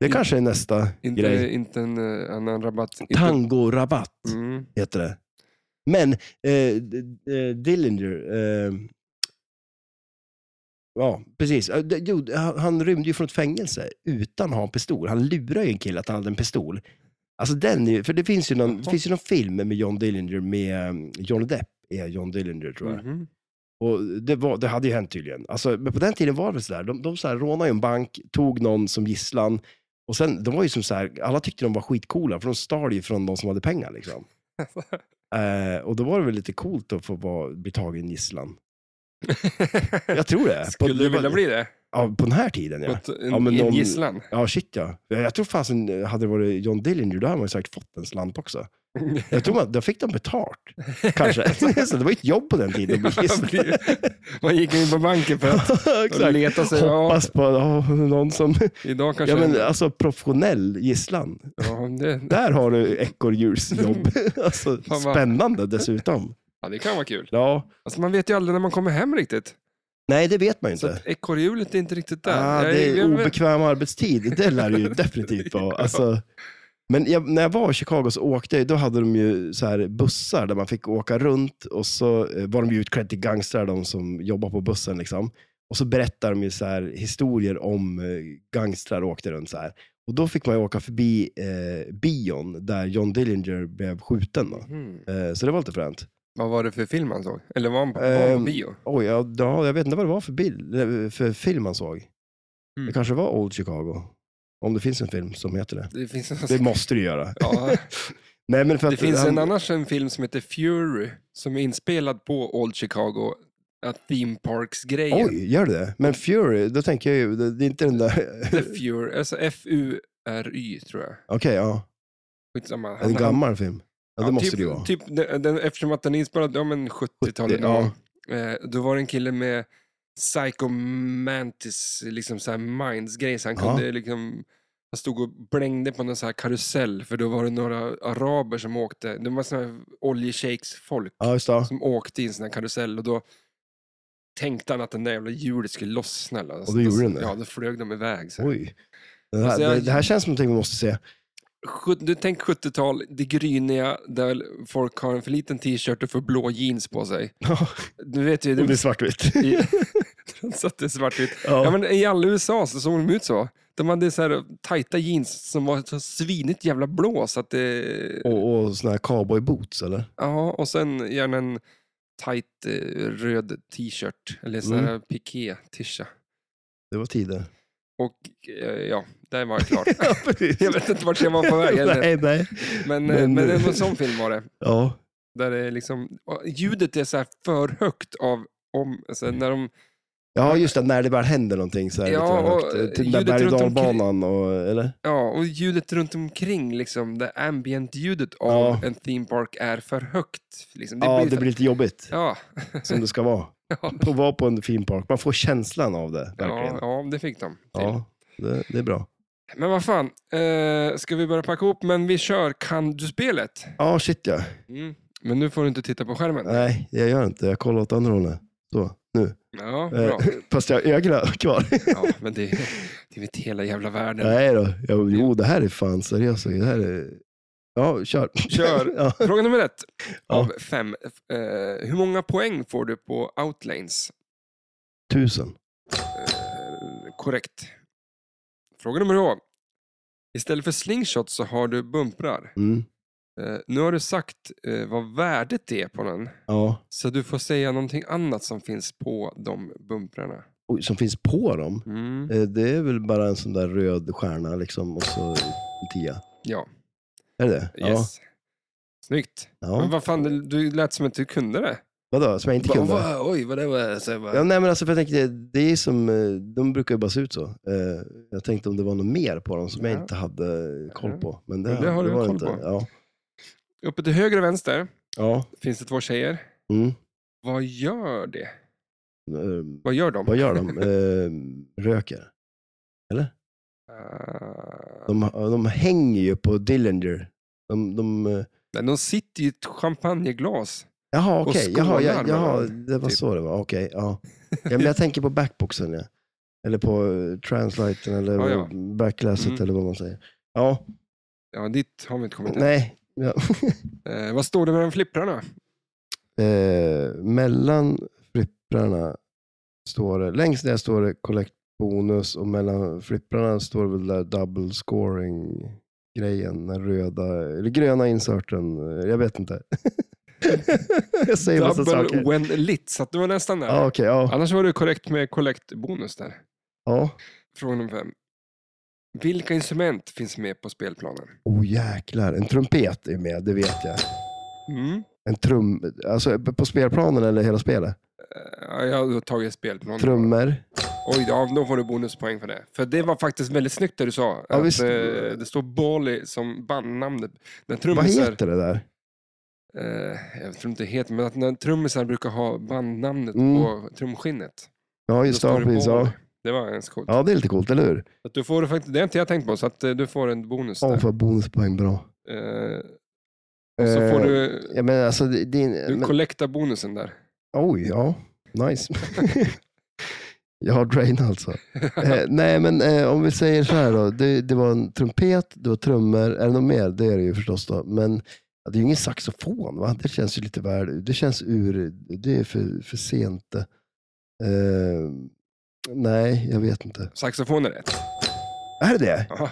B: Det kanske är nästa
A: Inte,
B: grej.
A: inte en eh, annan rabatt. Inte-
B: Tangorabatt
A: Mm.
B: heter det. Men eh, d- eh, Dillinger, eh, ja precis. Eh, det- Jo, han, han rymde ju från ett fängelse utan att ha en pistol. Han lurade ju en kille att han hade en pistol. Alltså den är ju, för det finns ju, någon, det
A: Jaha.
B: finns ju någon film med John Dillinger med eh, Johnny Depp. Är John Dillinger tror jag.
A: Mhm.
B: Och det, var, det hade ju hänt tydligen. Alltså, men på den tiden var det sådär. De, de så här rånade ju en bank, tog någon som gisslan. Och sen, de var ju som så här, alla tyckte de var skitcoola för de stal ju från de som hade pengar. Liksom. Eh, och då var det väl lite coolt att få vara, bli tagen gisslan. Jag tror det. På-
A: Skulle
B: det
A: du
B: var-
A: vilja bli det?
B: Ja, på den här tiden ja.
A: Mot en,
B: Ja, men
A: i en
B: de-
A: gisslan?
B: Ja, shit ja. Jag jag tror fasen, eh, hade det varit John Dillinger, då hade man ju säkert fått en slant också. Jag tror man, då fick de betalt. Kanske. så det var ju ett jobb på den tiden att bli gisslan.
A: Man gick in på banken för att
B: Exakt.
A: leta sig. Ja,
B: Hoppas på ja, någon som...
A: idag kanske...
B: Ja, men, alltså professionell gisslan.
A: ja, det,
B: Där har du ekorrhjulsjobb. alltså,
A: Fan vad-
B: spännande dessutom.
A: ja, det kan vara kul.
B: Ja.
A: Alltså, man vet ju aldrig när man kommer hem riktigt.
B: Nej, det vet man ju
A: Så
B: inte.
A: att ekorrhjulet är inte riktigt där.
B: Ah,
A: Jag-
B: det är
A: jag-
B: obekväm arbetstid. Det lär det ju definitivt vara. Alltså, men jag, när jag var i Chicago så åkte jag, då hade de ju så här bussar där man fick åka runt och så eh, var de ju utklädda till gangstrar, de som jobbar på bussen. Liksom. Och så berättar de ju så här historier om eh, gangstrar och åkte runt så här. Och då fick man ju åka förbi eh, bion där John Dillinger blev skjuten. Då.
A: Mhm.
B: Eh, så det var lite fränt.
A: Vad var det för film han såg? Eller var han på, var han
B: Ehm,
A: på bio?
B: Oj, ja, ja, jag vet inte vad det var för, bild, eh, för film man såg.
A: Mm.
B: Det kanske var Old Chicago. Om det finns en film som heter det.
A: Det finns, en-
B: Det måste du göra.
A: ja,
B: Nej, men för att
A: det finns
B: han-
A: en annars en film som heter Fury som är inspelad på Old Chicago. Att Theme Parks-grejen.
B: Oj, gör du det? Men Fury, då tänker jag ju, det, det är inte den där...
A: The Fury, alltså F-U-R-Y tror jag.
B: Okej, ja.
A: Skitsamma.
B: En gammal film. Ja, det
A: Ja,
B: måste
A: typ,
B: det ju vara.
A: Typ, den, den, eftersom att den är inspelad ja, men 70-talet.
B: Ja.
A: Eh, då var det en kille med psychomantis, liksom så här minds-grej. Så han
B: Ja.
A: kunde liksom, han stod och blängde på någon så här karusell. För då var det några araber som åkte. Det var såna här oljeshakes-folk
B: Ja, just det.
A: som åkte i en sån här karusell. Och då tänkte han att den där jävla hjulet skulle lossna. eller-
B: Och då gjorde den det.
A: Ja, då flög de iväg. Så här.
B: Oj. Det här,
A: typ Alltså, jag-
B: det, det här känns som någonting vi måste se.
A: Sjut- Du tänk 70-tal, det gryniga där folk har en för liten t-shirt och för blå jeans på sig. Du vet ju,
B: Om det är
A: det,
B: svartvitt.
A: i, trots att det är svartvitt.
B: Ja.
A: Ja, men I alla USA så såg de ut så. De hade så här tajta jeans som var så svinigt jävla blå. Så att det,
B: Och, och såna här cowboyboots eller?
A: ja, och sen gärna en tajt eh, röd t-shirt eller sån
B: Mm.
A: här piké-tisha.
B: Det var tider.
A: Och eh, ja, där var jag klar.
B: Ja, precis.
A: jag vet inte vart jag var på väg. heller.
B: nej, nej.
A: Men, eh,
B: Men-
A: men det var en sån film var det.
B: Ja.
A: Där det är liksom, och ljudet är så här för högt av om, alltså
B: Mm.
A: när de,
B: ja, just det. När det bara händer någonting så här
A: Ja,
B: lite
A: och,
B: högt. eh, Till den
A: ljudet
B: där berg och
A: runt omkring-
B: dalbanan och, eller?
A: ja, och ljudet runt omkring, liksom, det ambient ljudet av
B: Ja.
A: en theme park är för högt. Liksom.
B: ja,
A: blir
B: det
A: så-
B: blir lite jobbigt.
A: ja,
B: Som det ska vara.
A: Ja.
B: Att vara på en fin park. Man får känslan av det,
A: ja,
B: verkligen.
A: ja, det fick de. till.
B: Ja, det, det är bra.
A: Men vad fan, eh, ska vi börja packa ihop? Men vi kör Kan du-spelet.
B: Ja, shit ja.
A: Men nu får du inte titta på skärmen.
B: Mm. Nej, jag gör inte. Jag kollar åt andra hållet. Så, nu.
A: Ja,
B: Eh,
A: bra.
B: Fast jag har ögonen kvar.
A: Ja, men det, det är väl inte hela jävla världen.
B: Nej då. Jo, jo, det här är fan seriöst. Det här är... Ja, kör.
A: Kör.
B: ja.
A: Fråga nummer ett
B: Ja.
A: av fem. Eh, hur många poäng får du på Outlanes?
B: Tusen.
A: Eh, korrekt. Fråga nummer två. Istället för slingshot så har du bumprar.
B: Mm.
A: Eh, nu har du sagt eh, vad värdet är på den.
B: Ja.
A: Så du får säga någonting annat som finns på de bumprarna.
B: Oj, som finns på dem.
A: Mm.
B: Eh, Det är väl bara en sån där röd stjärna liksom och så en tia.
A: Ja,
B: Är det det
A: yes. Snyggt.
B: Ja.
A: Men
B: ja.
A: vad fan, du- du lät som att du kunde det.
B: Vadå, som jag inte
A: Va-
B: kunde?
A: va- oj, vad det var. Så jag bara,
B: Ja, nej, men alltså, för jag tänkte, det är som, eh, de brukar ju bara se ut så. Eh, Jag tänkte om det var något mer på dem som
A: Ja.
B: jag inte hade koll på. Men det,
A: Men det har du
B: var
A: koll
B: inte.
A: på.
B: Ja.
A: Uppe till höger och vänster
B: ja.
A: finns det två tjejer.
B: Mm.
A: Vad gör det?
B: Eh,
A: Vad gör de?
B: Vad gör de? Eh, Röker.
A: Ah.
B: De, de hänger ju på Dillinger. De, de, eh,
A: Nej, de sitter i ett champagneglas.
B: Jaha,
A: Och
B: okej. Jaha, ja,
A: skålar
B: jaha,
A: mellan,
B: det var
A: typ.
B: så det var. Okej, ja. ja men jag tänker på backboxen, ja. Eller på eh, translaten eller
A: Ja, ja.
B: backlasset
A: Mm.
B: eller vad man säger. Ja,
A: Ja, dit har vi inte kommit än.
B: nej. Ja.
A: Eh, vad står det mellan flipprarna?
B: eh, mellan flipprarna står det, längst ner står det collect bonus och mellan flipprarna står det väl där double scoring grejen, den röda, eller gröna inserten. eh, Jag vet inte. jag säger massa
A: Double
B: saker.
A: when lit, så att du var nästan där.
B: Ja, okej, ja.
A: Annars var du korrekt med collect-bonus där.
B: ja.
A: Fråga nummer fem. Vilka instrument finns med på spelplanen?
B: Oh jäklar, en trumpet är med, det vet jag.
A: Mm.
B: En trum, alltså på spelplanen eller hela spelet?
A: Eh, Jag har tagit spelplanen.
B: Trummor.
A: Oj, ja, då får du bonuspoäng för det. För det var faktiskt väldigt snyggt det du sa.
B: Ja,
A: att,
B: visst.
A: eh, det står Bali som bandnamnet. När
B: Vad
A: trummisar,
B: heter det där?
A: eh, jag tror inte det heter, men att när trummisar brukar ha bandnamnet
B: Mm.
A: på trumskinnet.
B: Ja,
A: Då
B: just det.
A: står
B: ja,
A: det
B: Precis, ja.
A: Bali. Det var ens coolt.
B: ja, det är lite coolt, eller hur?
A: Så Att du får, faktiskt- det har inte jag tänkt på, så att eh, du får en bonus
B: Ja,
A: där.
B: för bonuspoäng, bra.
A: Eh, och så får
B: Eh,
A: du,
B: Ja, men alltså, det, det är,
A: du
B: men,
A: kollekta bonusen där.
B: oj, ja. Nice. Jag har drain alltså. Eh, nej, men eh, om vi säger så här då. Det, det var en trumpet, det var trummor. Är det något mer? Det är det ju förstås då. Men ja, det är ju ingen saxofon, va? Det känns ju lite väl... Det känns ur... Det är för, för sent. Eh, nej, jag vet inte.
A: Saxofon är rätt.
B: Är det det?
A: Ja,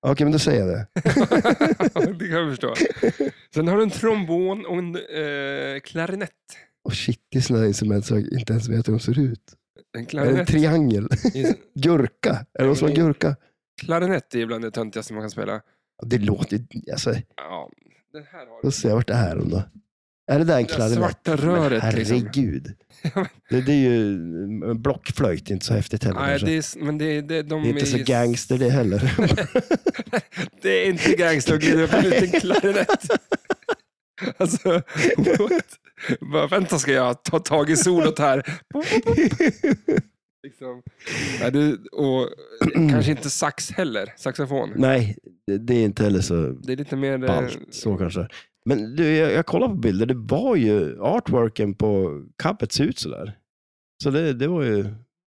B: Okej, men då säger jag det.
A: det kan jag förstå. Sen har du en trombon och en eh, klarinett.
B: Och shit, det är sådana där instrument som jag inte ens vet hur de ser ut.
A: En
B: Är det en
A: klarinett,
B: triangel?
A: är,
B: Gurka? Är det någon som har
A: men-
B: gurka?
A: klarinett är bland det töntigaste man kan spela.
B: Ja, Det låter ju... Alltså,
A: Ja, den här har
B: då
A: du.
B: ser jag vart det är då. Är det där en
A: Det
B: klarinett?
A: svarta röret,
B: Men
A: liksom.
B: Herregud. Det, det är ju en blockflöjt, inte så häftigt heller.
A: Nej,
B: kanske.
A: det
B: det,
A: är, men det, det, de
B: är inte så
A: ju-
B: gangster det heller.
A: Det är inte gangster att glida upp en liten klarinett. Alltså, what? Bara, vänta ska jag ta tag i solot här. liksom. Nej, det, och kanske inte sax heller, saxofon.
B: Nej, det- det är inte heller så
A: Det är lite mer... eh,
B: ballt så kanske. Men du, jag, jag kollade på bilder, det var ju artworken på coveret ser ut sådär. Så det, det var ju...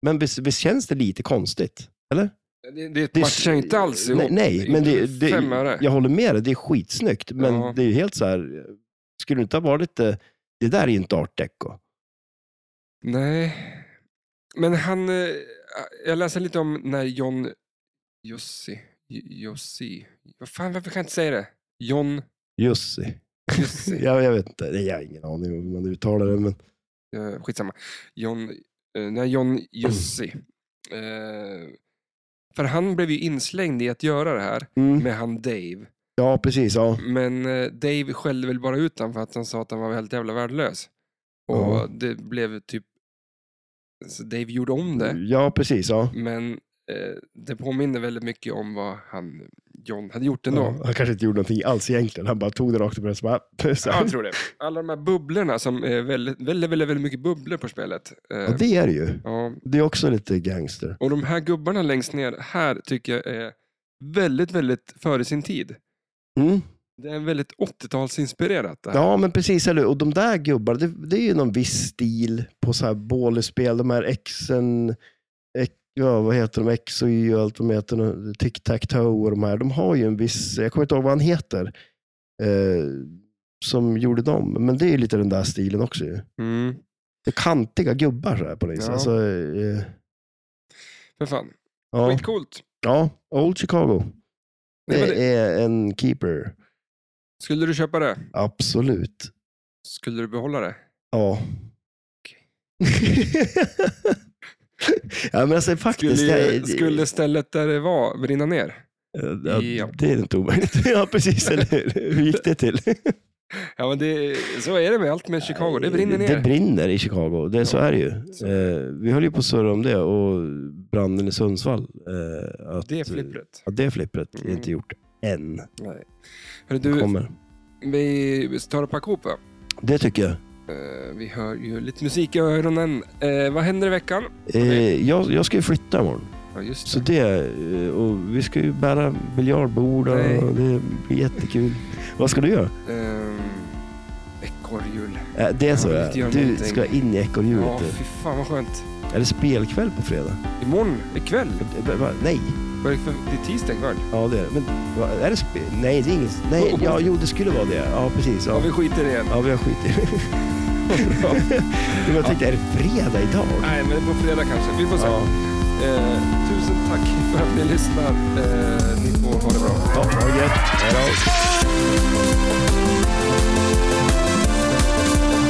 B: Men visst, visst känns det lite konstigt? Eller?
A: Det, det
B: Det
A: matchar ju inte alls ihop.
B: Nej, nej men det, det,
A: Fem öre.
B: jag håller med dig. Det är skitsnyggt, men
A: Ja.
B: det är ju helt så här... Skulle det inte ha varit lite... Det där är ju inte art deco.
A: Nej. Men han... eh, Jag läser lite om när John... Jussi... J- Jussi... Vad fan, varför kan jag inte säga det? John
B: Jussi.
A: Jussi.
B: Jag, jag vet inte, Nej, jag har ingen aning om hur man uttalar det, men
A: Eh, skitsamma. John, eh, när John Jussi.
B: Mm.
A: Eh, för han blev ju inslängd i att göra det här
B: mm.
A: med han Dave.
B: ja, precis. Ja.
A: Men eh, Dave skällde väl bara ut honom för att han sa att han var helt jävla värdelös. Och
B: Ja.
A: det blev typ... Så Dave gjorde om det.
B: ja, precis. Ja.
A: Men eh, det påminner väldigt mycket om vad han, John hade gjort ändå.
B: Ja, han kanske inte gjorde någonting alls egentligen. Han bara tog det rakt upp och ner, så bara... Så
A: Ja,
B: här.
A: jag tror det. Alla de här bubblorna som är väldigt, väldigt, väldigt, väldigt mycket bubblor på spelet. Eh,
B: Ja, det är det ju.
A: ja,
B: Det är också lite gangster.
A: Och de här gubbarna längst ner här tycker jag är väldigt, väldigt före sin tid.
B: Mm.
A: Det är väldigt 80-talsinspirerat det här.
B: Ja, men precis. Eller? hur? Och de där gubbarna, det, det är ju någon viss stil på så här bålespel. De här exen, ex, ja, vad heter de? X och Y och allt vad de heter. nu. Tic Tac Toe och de här. De har ju en viss, jag kommer inte ihåg vad han heter, eh, som gjorde dem. Men det är ju lite den där stilen också. Ju.
A: Mm,
B: Det är kantiga gubbar så här på något vis.
A: Ja.
B: Alltså, eh,
A: för fan.
B: ja.
A: Skitcoolt.
B: ja, Old Chicago.
A: Nej,
B: Det
A: men det...
B: är en keeper.
A: Skulle du köpa det?
B: Absolut.
A: Skulle du behålla det?
B: Ja. ja men alltså faktiskt.
A: Skulle,
B: jag-
A: skulle stället där det var brinna ner?
B: ja,
A: Ja.
B: Det är inte omöjligt. ja precis, eller hur? Hur gick det till?
A: Ja, men det, så är det med allt med Chicago. Det brinner ner.
B: Det brinner i Chicago, det, så
A: Ja.
B: är det ju.
A: Så.
B: Eh, vi höll ju på att surra om det och branden i Sundsvall. Eh, att,
A: Det är flippret.
B: Ja, det flippret är
A: Mm.
B: inte gjort än.
A: Nej. Hörru, du,
B: Kommer.
A: vi tar och packar ihop va?
B: Det tycker jag.
A: Eh, Vi hör ju lite musik i öronen. Eh, vad händer i veckan?
B: Eh, jag. Jag ska ju flytta imorgon.
A: Ja, just
B: Så
A: det.
B: det, eh, och vi ska ju bära biljardbord och
A: Nej.
B: det blir jättekul. Vad ska du göra?
A: Ehm, Ekorrhjul.
B: Eh, Det är så
A: Jag vill Mm.
B: ja.
A: inte göra
B: Du
A: någonting.
B: ska in i ekorrhjulet.
A: Ja,
B: du.
A: fy fan vad skönt.
B: Är det spelkväll på fredag?
A: Imorgon, ikväll.
B: Eh, va? Nej.
A: Vad är det för- Det är tisdag ikväll.
B: Ja det är det. Men va, är det spel? Nej, det är inget. Nej,
A: Oh.
B: ja, jo det skulle vara det. Ja precis.
A: Ja,
B: Ja,
A: vi skiter i det.
B: ja vi har skit i det.
A: Bra.
B: Men jag tänkte, är det fredag idag?
A: Nej, men det är på fredag kanske. Vi får se.
B: Ja.
A: Eh, tusen tack för att ni lyssnar. Eh, ni får ha det bra.
B: Ja, ha det gött. Hej då.